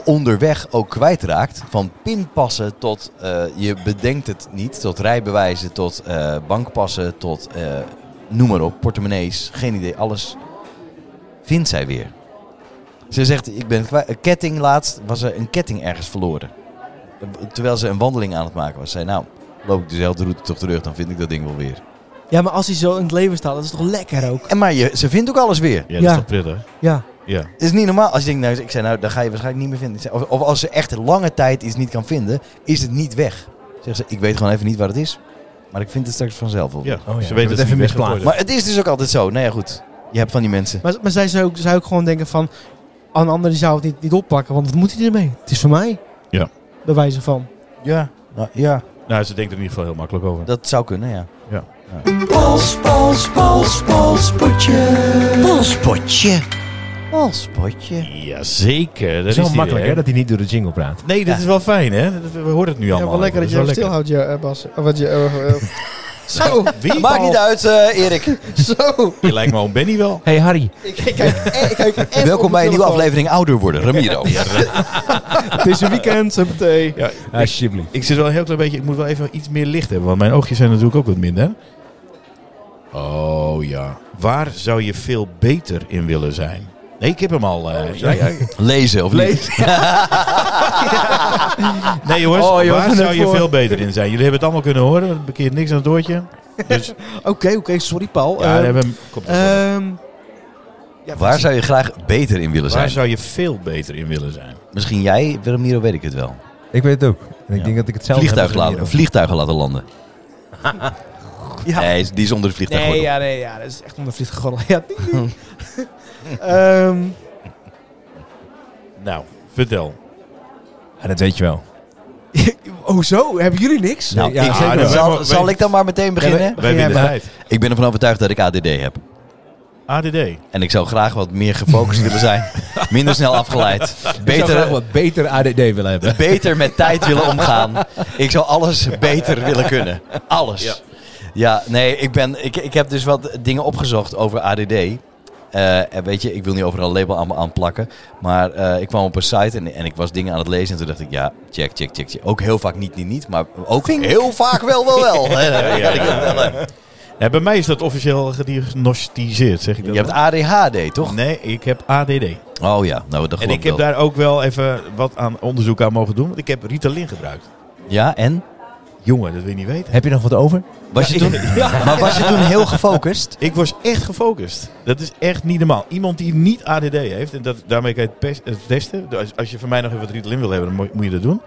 [SPEAKER 1] onderweg ook kwijtraakt. Van pinpassen tot eh, je bedenkt het niet. Tot rijbewijzen, tot eh, bankpassen, tot eh, noem maar op. Portemonnees, geen idee. Alles vindt zij weer. Ze zegt, ik ben kwijt. Een ketting laatst was er een ketting ergens verloren. Terwijl ze een wandeling aan het maken was. Zei, nou, loop ik dezelfde route toch terug, dan vind ik dat ding wel weer.
[SPEAKER 4] Ja, maar als hij zo in het leven staat, dat is toch lekker ook?
[SPEAKER 1] En maar je, ze vindt ook alles weer.
[SPEAKER 2] Ja, dat
[SPEAKER 4] Ja.
[SPEAKER 2] is toch prettig?
[SPEAKER 4] Ja.
[SPEAKER 2] Ja.
[SPEAKER 1] Het is niet normaal. Als je denkt, nou, ik zei, nou, dan ga je waarschijnlijk niet meer vinden. Ik zei, Of, of als ze echt lange tijd iets niet kan vinden, is het niet weg. Zeg ze, ik weet gewoon even niet waar het is. Maar ik vind het straks vanzelf wel.
[SPEAKER 2] ja.
[SPEAKER 6] Oh ja,
[SPEAKER 2] Ze weten
[SPEAKER 6] dat
[SPEAKER 2] dat ze
[SPEAKER 6] even
[SPEAKER 2] niet
[SPEAKER 6] misplaatst.
[SPEAKER 2] weggeplaatst.
[SPEAKER 1] Maar het is dus ook altijd zo. Nou ja, goed. Je hebt van die mensen.
[SPEAKER 4] Maar, maar zij zou ook, zou ook gewoon denken van... Een ander die zou het niet, niet oppakken, want wat moet hij ermee? Het is voor mij.
[SPEAKER 2] Ja.
[SPEAKER 4] Bij wijze van.
[SPEAKER 1] Ja. Nou, ja.
[SPEAKER 2] Nou, ze denkt er in ieder geval heel makkelijk over.
[SPEAKER 1] Dat zou kunnen, ja.
[SPEAKER 7] Pols, pols, pols, polspotje.
[SPEAKER 1] Polspotje. Polspotje.
[SPEAKER 2] Jazeker. Dat
[SPEAKER 6] Het
[SPEAKER 2] is
[SPEAKER 6] is wel
[SPEAKER 2] die
[SPEAKER 6] makkelijk
[SPEAKER 2] weer.
[SPEAKER 6] hè, dat hij niet door de jingle praat.
[SPEAKER 2] Nee, dat is wel fijn, hè? Dat- We horen het nu allemaal.
[SPEAKER 4] wel lekker dat je
[SPEAKER 2] is
[SPEAKER 4] hem
[SPEAKER 2] wel
[SPEAKER 4] stilhoudt, ja, eh, Bas. Of wat je, eh, eh,
[SPEAKER 2] Zo, wie?
[SPEAKER 1] Maakt niet uit, eh, Erik.
[SPEAKER 4] zo.
[SPEAKER 2] Je lijkt me oom Benny wel.
[SPEAKER 6] Hey Harry,
[SPEAKER 4] Ik, ik kijk, eh, ik kijk even op
[SPEAKER 1] Welkom
[SPEAKER 4] mijn
[SPEAKER 1] bij een nieuwe
[SPEAKER 4] telefoon.
[SPEAKER 1] aflevering Ouder Worden. Ramiro.
[SPEAKER 4] Het is een weekend, zo meteen.
[SPEAKER 2] Ja, ik,
[SPEAKER 6] alsjeblieft.
[SPEAKER 2] ik zit wel een heel klein beetje... Ik moet wel even iets meer licht hebben, want mijn oogjes zijn natuurlijk ook wat minder. Oh ja. Waar zou je veel beter in willen zijn? Nee, ik heb hem al. eh, ja, ja.
[SPEAKER 1] Lezen, of niet?
[SPEAKER 2] Nee jongens,
[SPEAKER 4] Oh, joh,
[SPEAKER 2] waar
[SPEAKER 4] net
[SPEAKER 2] zou je
[SPEAKER 4] voor.
[SPEAKER 2] veel beter in zijn? Jullie hebben het allemaal kunnen horen, want het bekeert niks aan het doortje. Eh, Dus
[SPEAKER 4] Oké, oké, sorry Paul.
[SPEAKER 2] ja,
[SPEAKER 4] Ehm,
[SPEAKER 2] we hebben, komt het wel.
[SPEAKER 4] ehm, ja,
[SPEAKER 1] Waar zou je graag beter in willen
[SPEAKER 2] waar
[SPEAKER 1] zijn?
[SPEAKER 2] zou je veel beter in willen zijn?
[SPEAKER 1] Misschien jij, Ramiro, weet ik het wel.
[SPEAKER 6] Ik weet het ook. En ik
[SPEAKER 2] Ja.
[SPEAKER 6] denk dat ik hetzelfde
[SPEAKER 1] Vliegtuig
[SPEAKER 6] heb als
[SPEAKER 1] laten,
[SPEAKER 6] Ramiro.
[SPEAKER 1] vliegtuigen laten landen.
[SPEAKER 4] Ja.
[SPEAKER 1] Nee, die is onder het vliegtuig.
[SPEAKER 4] Nee,
[SPEAKER 1] geworden.
[SPEAKER 4] ja, nee, ja, dat is echt onder vlieg gegollen. Ja, ding, ding. Ehm,
[SPEAKER 2] Nou, vertel.
[SPEAKER 6] Ja, dat weet je wel.
[SPEAKER 4] oh zo, hebben jullie niks?
[SPEAKER 1] Nou,
[SPEAKER 6] Ja,
[SPEAKER 1] ik-
[SPEAKER 6] ah,
[SPEAKER 2] nee,
[SPEAKER 1] zal,
[SPEAKER 2] wij-
[SPEAKER 1] zal
[SPEAKER 2] wij-
[SPEAKER 1] ik dan maar meteen beginnen?
[SPEAKER 2] Wij
[SPEAKER 4] jij
[SPEAKER 2] winnen
[SPEAKER 4] maar.
[SPEAKER 2] tijd.
[SPEAKER 1] Ik ben ervan overtuigd dat ik ADD heb.
[SPEAKER 2] ADD.
[SPEAKER 1] En ik zou graag wat meer gefocust willen zijn. Minder snel afgeleid.
[SPEAKER 6] Ik zou graag
[SPEAKER 1] Beter,
[SPEAKER 6] wat beter ADD willen hebben.
[SPEAKER 1] beter met tijd willen omgaan. Ik zou alles beter willen kunnen. Alles. Ja, nee, ik, ben, ik, ik heb dus wat dingen opgezocht over ADD. Eh, en weet je, ik wil niet overal label aan, aan plakken. Maar eh, ik kwam op een site en, en ik was dingen aan het lezen. En toen dacht ik, ja, check, check, check. check. Ook heel vaak niet, niet, niet. Maar ook heel vaak wel, wel, wel.
[SPEAKER 2] Ja, ja, ja. Ja, bij mij is dat officieel gediagnosticeerd, zeg ik dat?
[SPEAKER 1] Je hebt
[SPEAKER 2] wel?
[SPEAKER 1] ADHD, toch?
[SPEAKER 2] Nee, ik heb ADD.
[SPEAKER 1] Oh ja, nou dat
[SPEAKER 2] En
[SPEAKER 1] geloof
[SPEAKER 2] ik heb
[SPEAKER 1] wel.
[SPEAKER 2] daar ook wel even wat aan onderzoek aan mogen doen, want ik heb Ritalin gebruikt.
[SPEAKER 1] Ja, en?
[SPEAKER 2] Jongen, dat wil je niet weten.
[SPEAKER 6] Heb je nog wat over?
[SPEAKER 1] Was je toen... Maar was je toen heel gefocust?
[SPEAKER 2] Ik was echt gefocust. Dat is echt niet normaal. Iemand die niet ADD heeft, en dat, daarmee kan je het, pes- het testen. Dus Als, als je van mij nog even wat Ritalin wil hebben, dan mo- moet je dat doen.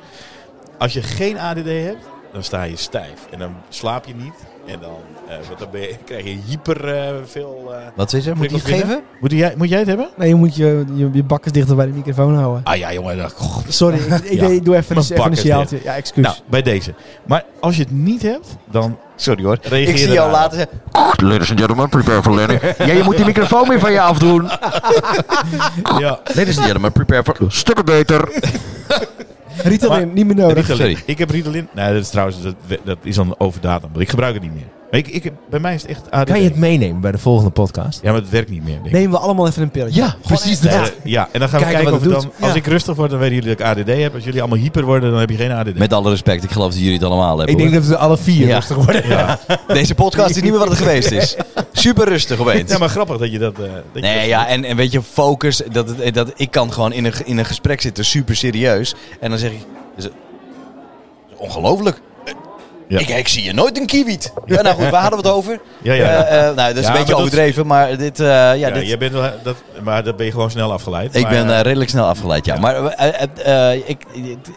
[SPEAKER 2] Als je geen ADD hebt, dan sta je stijf. En dan slaap je niet. En dan, eh, want dan ben je- krijg je hyper eh, veel... eh,
[SPEAKER 1] Wat is er? Moet ik het
[SPEAKER 2] prikkels
[SPEAKER 1] geven?
[SPEAKER 2] binnen. Moet jij, moet jij het hebben?
[SPEAKER 4] Nee, je moet je, je, je bakkes dichter bij de microfoon houden.
[SPEAKER 2] Ah ja, jongen. dat- goh.
[SPEAKER 4] Sorry, ik, ik
[SPEAKER 2] Ja.
[SPEAKER 4] deed- doe even,
[SPEAKER 2] Mijn
[SPEAKER 4] een- even een
[SPEAKER 2] bakkes
[SPEAKER 4] sjaaltje. Ja, excuus.
[SPEAKER 2] Nou, bij deze. Maar als je het niet hebt, dan
[SPEAKER 1] Sorry hoor.
[SPEAKER 2] reageer
[SPEAKER 1] ik zie
[SPEAKER 2] je
[SPEAKER 1] jou
[SPEAKER 2] daarop.
[SPEAKER 1] later zeggen...
[SPEAKER 7] Ladies and gentlemen, prepare for landing.
[SPEAKER 1] Ja, je moet die microfoon weer van je afdoen.
[SPEAKER 2] Ja.
[SPEAKER 1] Ladies and gentlemen, prepare for...
[SPEAKER 7] Stukken beter.
[SPEAKER 4] Ritalin, niet meer nodig.
[SPEAKER 2] Ritalin.
[SPEAKER 1] Sorry.
[SPEAKER 2] Ik heb Ritalin. Nee, dat is trouwens dat, dat is dan overdatum. Want ik gebruik het niet meer. Maar ik, ik, heb- bij mij is het echt ADD.
[SPEAKER 6] Kan je het meenemen bij de volgende podcast?
[SPEAKER 2] Ja, maar het werkt niet meer. denk ik.
[SPEAKER 4] Nemen we allemaal even een pilletje.
[SPEAKER 6] Ja, precies
[SPEAKER 2] Nee,
[SPEAKER 6] dat.
[SPEAKER 2] dat- ja, en dan gaan we
[SPEAKER 6] Kijken
[SPEAKER 2] kijken
[SPEAKER 6] wat
[SPEAKER 2] of het
[SPEAKER 6] het
[SPEAKER 2] dan...
[SPEAKER 6] doet.
[SPEAKER 2] Als
[SPEAKER 6] Ja.
[SPEAKER 2] ik rustig word, dan weten jullie dat ik ADD heb. Als jullie allemaal hyper worden, dan heb je geen ADD.
[SPEAKER 1] Met alle respect, ik geloof dat jullie het allemaal hebben.
[SPEAKER 6] Ik denk
[SPEAKER 1] hoor.
[SPEAKER 6] dat we alle vier
[SPEAKER 1] Ja.
[SPEAKER 6] rustig worden.
[SPEAKER 1] Deze podcast is niet meer wat het geweest is. Super rustig opeens.
[SPEAKER 2] Ja, maar grappig dat je dat... eh, dat je dat-
[SPEAKER 1] Nee, ja, en, en weet je, focus. Dat, het- dat, ik kan gewoon in een, in een gesprek zitten, super serieus. En dan zeg ik... is het- is Ongelooflijk. Eh,
[SPEAKER 2] Ja.
[SPEAKER 1] Ik, ik zie je nooit een kiwiet. Ja, nou goed, waar hadden we het over?
[SPEAKER 2] Ja, ja. ja.
[SPEAKER 1] Eh, eh, nou, dat is
[SPEAKER 2] Ja,
[SPEAKER 1] een beetje
[SPEAKER 2] maar dat-
[SPEAKER 1] overdreven, maar dit... eh, ja,
[SPEAKER 2] Ja,
[SPEAKER 1] dit
[SPEAKER 2] jij bent wel, dat, maar dat ben je gewoon snel afgeleid.
[SPEAKER 1] Ik
[SPEAKER 2] Maar,
[SPEAKER 1] ben
[SPEAKER 2] eh,
[SPEAKER 1] eh, redelijk snel afgeleid, ja. Maar eh, eh, eh, ik,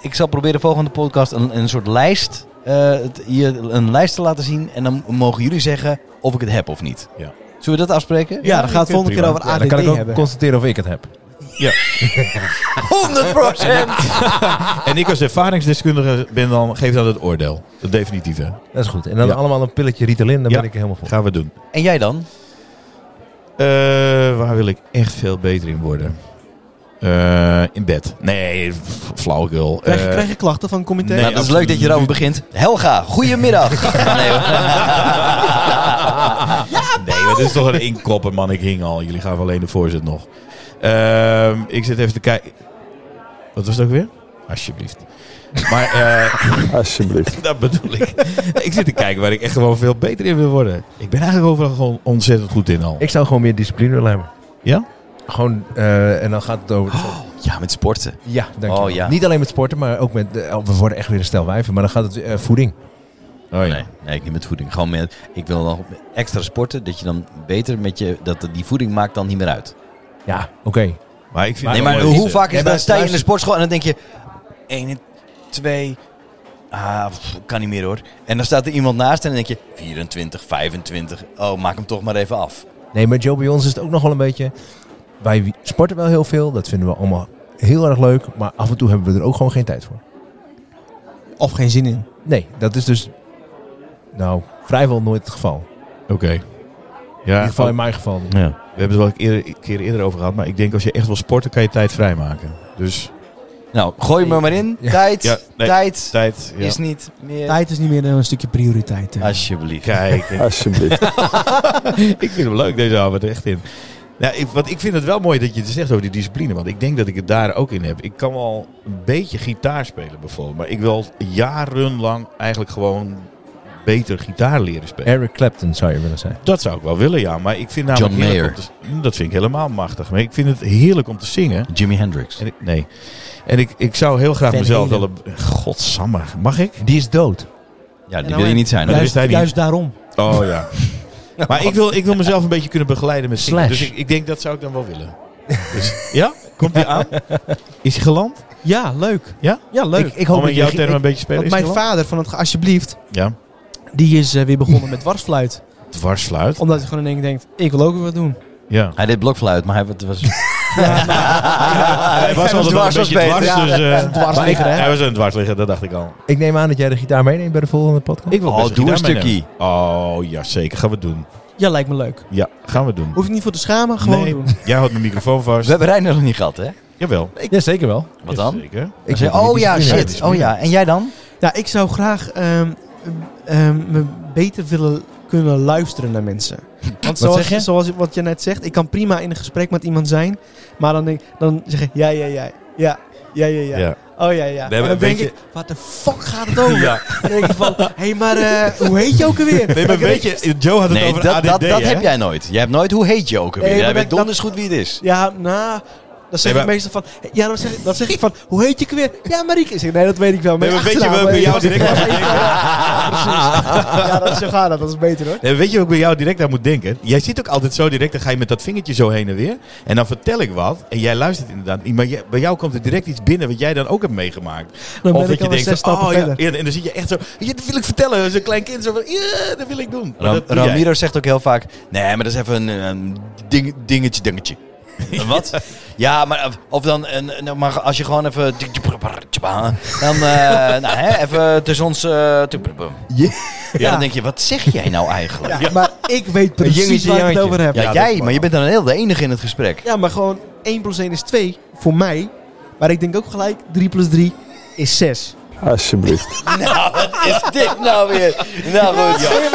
[SPEAKER 1] ik zal proberen volgende podcast een, een soort lijst, eh, het- je een lijst te laten zien. En dan mogen jullie zeggen of ik het heb of niet.
[SPEAKER 2] Ja.
[SPEAKER 1] Zullen we dat afspreken?
[SPEAKER 4] Ja, dan gaat het volgende keer
[SPEAKER 2] prima.
[SPEAKER 4] over
[SPEAKER 6] Ja,
[SPEAKER 4] ADD
[SPEAKER 6] dan kan ik ook
[SPEAKER 4] hebben.
[SPEAKER 6] constateren of ik het heb.
[SPEAKER 1] 100%!
[SPEAKER 2] En ik als ervaringsdeskundige ben dan, geef dan het oordeel. Het definitieve.
[SPEAKER 6] Dat is goed. En dan
[SPEAKER 2] Ja.
[SPEAKER 6] allemaal een pilletje Ritalin, dan
[SPEAKER 2] Ja.
[SPEAKER 6] ben ik er helemaal voor.
[SPEAKER 2] Gaan we doen.
[SPEAKER 1] en jij dan?
[SPEAKER 2] Eh, waar wil ik echt veel beter in worden? Eh, in bed. Nee, f- flauwekul.
[SPEAKER 4] Krijg, je-
[SPEAKER 2] Eh,
[SPEAKER 4] krijg je klachten van het comité?
[SPEAKER 2] Nee.
[SPEAKER 1] nou, dat is leuk dat je erover begint. Helga, goedemiddag. nee, hoor.
[SPEAKER 2] nee, maar dit is toch een inkopper, man. Ik hing al. Jullie gaven alleen de voorzet nog. Ehm, ik zit even te kijken. Wat was het ook weer? Alsjeblieft. Maar eh,
[SPEAKER 3] Alsjeblieft.
[SPEAKER 2] dat bedoel ik. Ik zit te kijken waar ik echt gewoon veel beter in wil worden. Ik ben eigenlijk overal gewoon ontzettend goed in al.
[SPEAKER 6] Ik zou gewoon meer discipline willen hebben.
[SPEAKER 2] Ja?
[SPEAKER 6] Gewoon, eh, en dan gaat het over...
[SPEAKER 1] ja, met sporten.
[SPEAKER 6] Ja, dank je.
[SPEAKER 1] Oh, ja.
[SPEAKER 6] Niet alleen met sporten, maar ook met... eh, oh, we worden echt weer een stel wijven, maar dan gaat het eh, voeding.
[SPEAKER 2] Oh, ja.
[SPEAKER 1] Nee, nee, ik niet met voeding. Gewoon met, ik wil nog extra sporten, dat je dan beter met je, dat die voeding maakt dan niet meer uit.
[SPEAKER 6] Ja, oké.
[SPEAKER 2] Maar ik vind
[SPEAKER 1] Nee,
[SPEAKER 2] het
[SPEAKER 1] maar
[SPEAKER 2] wel leuk.
[SPEAKER 1] hoe vaak is
[SPEAKER 6] Nee,
[SPEAKER 1] dan
[SPEAKER 6] maar
[SPEAKER 1] sta je in de
[SPEAKER 6] luister-
[SPEAKER 1] sportschool en dan denk je... 1, 2, ah, pff, kan niet meer hoor. En dan staat er iemand naast en dan denk je... 24, 25, oh, maak hem toch maar even af.
[SPEAKER 6] Nee, maar Joe, bij ons is het ook nog wel een beetje... Wij sporten wel heel veel, dat vinden we allemaal heel erg leuk. Maar af en toe hebben we er ook gewoon geen tijd voor.
[SPEAKER 4] Of geen zin in.
[SPEAKER 6] Nee, dat is dus... Nou, vrijwel nooit het geval. In
[SPEAKER 2] Oké. Ja,
[SPEAKER 6] ieder geval in mijn geval niet.
[SPEAKER 2] Ja. We hebben het wel een keer, een keer eerder over gehad, maar ik denk als je echt wil sporten, kan je tijd vrijmaken. Dus
[SPEAKER 1] Nou, gooi me maar in.
[SPEAKER 6] Ja.
[SPEAKER 1] Tijd,
[SPEAKER 2] Ja, nee.
[SPEAKER 1] tijd
[SPEAKER 2] tijd. Ja.
[SPEAKER 1] is niet meer...
[SPEAKER 4] Tijd is niet meer een stukje prioriteit. hè.
[SPEAKER 1] Alsjeblieft.
[SPEAKER 2] Kijk,
[SPEAKER 3] Alsjeblieft.
[SPEAKER 2] ik vind hem leuk deze avond, echt in. Nou, ik, want ik vind het wel mooi dat je het zegt over die discipline, want ik denk dat ik het daar ook in heb. Ik kan wel een beetje gitaar spelen bijvoorbeeld, maar ik wil jarenlang eigenlijk gewoon beter gitaar leren spelen.
[SPEAKER 6] Eric Clapton zou je willen zijn.
[SPEAKER 2] Dat zou ik wel willen, ja, maar ik vind namelijk
[SPEAKER 1] John
[SPEAKER 2] heerlijk om te- dat vind ik helemaal machtig, maar ik vind het heerlijk om te zingen.
[SPEAKER 1] Jimi Hendrix.
[SPEAKER 2] En ik, nee. En ik, ik zou heel graag
[SPEAKER 4] Van
[SPEAKER 2] mezelf wel...
[SPEAKER 4] Halen.
[SPEAKER 2] een- Godsamme, mag ik?
[SPEAKER 6] Die is dood.
[SPEAKER 1] Ja, die
[SPEAKER 4] nou
[SPEAKER 1] wil je
[SPEAKER 4] en-
[SPEAKER 1] niet zijn.
[SPEAKER 2] dat
[SPEAKER 1] hoor.
[SPEAKER 2] wist
[SPEAKER 4] Juist,
[SPEAKER 2] hij niet.
[SPEAKER 4] juist daarom.
[SPEAKER 2] Oh ja. maar ik wil, ik wil mezelf een beetje kunnen begeleiden met zingen.
[SPEAKER 6] Slash.
[SPEAKER 2] Dus ik, ik denk dat zou ik dan wel willen. Dus, ja? Komt hij aan? Is hij geland?
[SPEAKER 4] Ja, leuk.
[SPEAKER 2] Ja?
[SPEAKER 4] Ja, leuk.
[SPEAKER 6] Ik, ik hoop
[SPEAKER 2] Om
[SPEAKER 6] dat
[SPEAKER 2] in jouw
[SPEAKER 6] je-
[SPEAKER 2] termen een
[SPEAKER 6] ik-
[SPEAKER 2] beetje spelen.
[SPEAKER 4] Want
[SPEAKER 2] Is
[SPEAKER 4] mijn
[SPEAKER 2] hij
[SPEAKER 4] vader van het ge- alsjeblieft,
[SPEAKER 2] geland?
[SPEAKER 4] die is eh, weer begonnen met dwarsfluit.
[SPEAKER 2] Ja. Dwarsfluit.
[SPEAKER 4] Omdat hij gewoon in één keer denkt, ik wil ook weer wat doen.
[SPEAKER 2] Ja.
[SPEAKER 1] Hij deed blokfluit, maar hij het was...
[SPEAKER 2] Hij was
[SPEAKER 1] was
[SPEAKER 2] altijd wel een
[SPEAKER 1] dwars, was
[SPEAKER 2] beetje dwars.
[SPEAKER 1] beter.
[SPEAKER 2] Dus, eh,
[SPEAKER 4] dwarsligger, hè?
[SPEAKER 2] Hij was een dwarsligger, dat dacht ik al.
[SPEAKER 6] Ik neem aan dat jij de gitaar meeneemt bij de volgende podcast.
[SPEAKER 2] Ik wil
[SPEAKER 1] Oh,
[SPEAKER 2] best
[SPEAKER 1] doe een
[SPEAKER 2] gitaar
[SPEAKER 1] stukje.
[SPEAKER 2] meenemen. Oh, ja zeker. Gaan we doen.
[SPEAKER 4] Ja, lijkt me leuk.
[SPEAKER 2] Ja, gaan we doen.
[SPEAKER 4] Hoef je niet voor te schamen, gewoon
[SPEAKER 2] nee,
[SPEAKER 4] doen.
[SPEAKER 2] jij houdt mijn microfoon
[SPEAKER 1] We
[SPEAKER 2] vast.
[SPEAKER 1] hebben Reiner nog niet gehad, hè?
[SPEAKER 2] Jawel.
[SPEAKER 6] Ja, zeker wel.
[SPEAKER 1] Wat dan?
[SPEAKER 2] Zeker.
[SPEAKER 1] Ik
[SPEAKER 6] Ik
[SPEAKER 1] zei,
[SPEAKER 6] wil die
[SPEAKER 1] oh ja,
[SPEAKER 6] discipline
[SPEAKER 1] shit. Oh ja, en jij dan?
[SPEAKER 4] Ja, ik zou graag ehm, ehm, me beter willen kunnen luisteren naar mensen. Want zoals,
[SPEAKER 6] zeg je?
[SPEAKER 4] zoals wat je net zegt, ik kan prima in een gesprek met iemand zijn, maar dan, denk, dan zeg ik ja, ja, ja, ja, ja, ja, ja.
[SPEAKER 2] Ja.
[SPEAKER 4] Oh ja, ja.
[SPEAKER 2] We hebben
[SPEAKER 4] en
[SPEAKER 2] een
[SPEAKER 4] dan denk
[SPEAKER 2] beetje-
[SPEAKER 4] ik, wat de fuck gaat het over?
[SPEAKER 2] Ja.
[SPEAKER 4] Dan denk ik van, hé, hey, maar eh, hoe heet je ook alweer?
[SPEAKER 2] Nee, maar weet je, Joe had het
[SPEAKER 1] Nee,
[SPEAKER 2] over
[SPEAKER 1] dat,
[SPEAKER 2] ADD,
[SPEAKER 1] dat, dat
[SPEAKER 2] hè?
[SPEAKER 1] heb jij nooit. Jij hebt nooit, hoe heet je ook
[SPEAKER 4] Nee,
[SPEAKER 1] alweer?
[SPEAKER 4] maar
[SPEAKER 1] Jij
[SPEAKER 4] dat-
[SPEAKER 1] weet donders goed wie het is.
[SPEAKER 4] Ja, nou, dan zeg
[SPEAKER 2] Nee,
[SPEAKER 4] ik
[SPEAKER 2] maar-
[SPEAKER 4] meestal van, ja, dan zeg, dan zeg ik van, hoe heet je ook weer? Ja, Marieke. Ik zeg, nee, dat weet ik wel. maar
[SPEAKER 2] Nee, maar
[SPEAKER 4] je
[SPEAKER 2] weet je
[SPEAKER 4] achternaam,
[SPEAKER 2] welke
[SPEAKER 4] eh,
[SPEAKER 2] jou direct aan
[SPEAKER 4] Ja,
[SPEAKER 2] moet denken?
[SPEAKER 4] precies. Ja, dat is zo gaat dat. Dat is beter hoor.
[SPEAKER 2] Nee, weet je wat ik bij jou direct aan moet denken? Jij zit ook altijd zo direct, dan ga je met dat vingertje zo heen en weer. En dan vertel ik wat. En jij luistert inderdaad niet. Maar jij- bij jou komt er direct iets binnen wat jij dan ook hebt meegemaakt.
[SPEAKER 4] Dan ben
[SPEAKER 2] dat
[SPEAKER 4] ik al zes
[SPEAKER 2] van,
[SPEAKER 4] stappen
[SPEAKER 2] oh, ja,
[SPEAKER 4] verder.
[SPEAKER 2] ja, en dan zit je echt zo. Ja, dat wil ik vertellen. Als een klein kind zo van, ja, dat wil ik doen. Maar
[SPEAKER 1] Ram-
[SPEAKER 2] dat doe jij.
[SPEAKER 1] Ramiro zegt ook heel vaak: Nee, maar dat is even een, een ding, dingetje, dingetje. Een Wat? Ja, maar of- of dan, een, nou, maar als je gewoon even. Dan, eh, nou, hè, even tussen ons. eh, ja, dan denk je: Wat zeg jij nou eigenlijk?
[SPEAKER 4] Ja,
[SPEAKER 1] Ja,
[SPEAKER 4] Maar ik weet precies
[SPEAKER 6] jongetje,
[SPEAKER 4] waar ik het
[SPEAKER 6] jongetje.
[SPEAKER 4] over heb. Ja.
[SPEAKER 2] dat
[SPEAKER 1] jij,
[SPEAKER 2] mag
[SPEAKER 1] maar je bent dan heel de enige in het gesprek.
[SPEAKER 4] maar gewoon 1 plus 1 is 2 voor mij. Maar ik denk ook gelijk 3 plus 3 is 6.
[SPEAKER 3] Alsjeblieft.
[SPEAKER 1] Nou, wat is dit nou weer? Nou goed,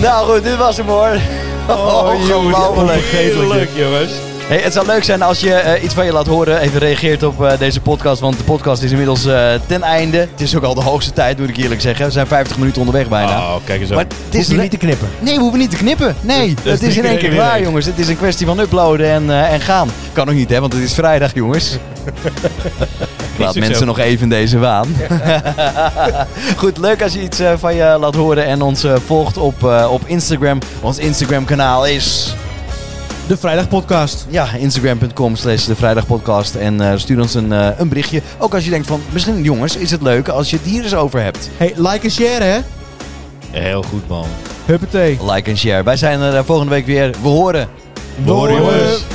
[SPEAKER 1] nou goed dit was hem hoor. Oh, Ongelooflijk.
[SPEAKER 2] Heerlijk, jongens.
[SPEAKER 1] Hey, het zou leuk zijn als je eh, iets van je laat horen. Even reageert op eh, deze podcast. Want de podcast is inmiddels eh, ten einde. Het is ook al de hoogste tijd, moet ik eerlijk zeggen. We zijn 50 minuten onderweg bijna.
[SPEAKER 2] Oh, kijk eens
[SPEAKER 1] Maar
[SPEAKER 2] aan.
[SPEAKER 1] het
[SPEAKER 6] Hoef
[SPEAKER 1] is
[SPEAKER 6] je
[SPEAKER 1] le-
[SPEAKER 6] niet te knippen.
[SPEAKER 1] Nee, we hoeven niet te knippen. Nee,
[SPEAKER 2] dat
[SPEAKER 1] het
[SPEAKER 2] is
[SPEAKER 1] is in
[SPEAKER 2] niet
[SPEAKER 1] één keer
[SPEAKER 2] iedereen
[SPEAKER 1] klaar,
[SPEAKER 2] weet.
[SPEAKER 1] jongens. Het is een kwestie van uploaden en, eh, en gaan. Kan ook niet, hè, want het is vrijdag, jongens. Ik laat
[SPEAKER 2] succes.
[SPEAKER 1] mensen nog even in deze waan. Goed, leuk als je iets eh, van je laat horen en ons eh, volgt op, eh, op Instagram. Ons Instagram-kanaal is...
[SPEAKER 4] De Vrijdag Podcast.
[SPEAKER 1] Ja, instagram.com slash de vrijdagpodcast. En eh, stuur ons een, eh, een berichtje. Ook als je denkt van, misschien jongens, is het leuk als je het hier eens over hebt.
[SPEAKER 4] Hey, like en share hè.
[SPEAKER 2] Heel goed, man.
[SPEAKER 8] Huppatee.
[SPEAKER 1] Like en share. Wij zijn er eh, volgende week weer. We horen.
[SPEAKER 4] We horen jongens.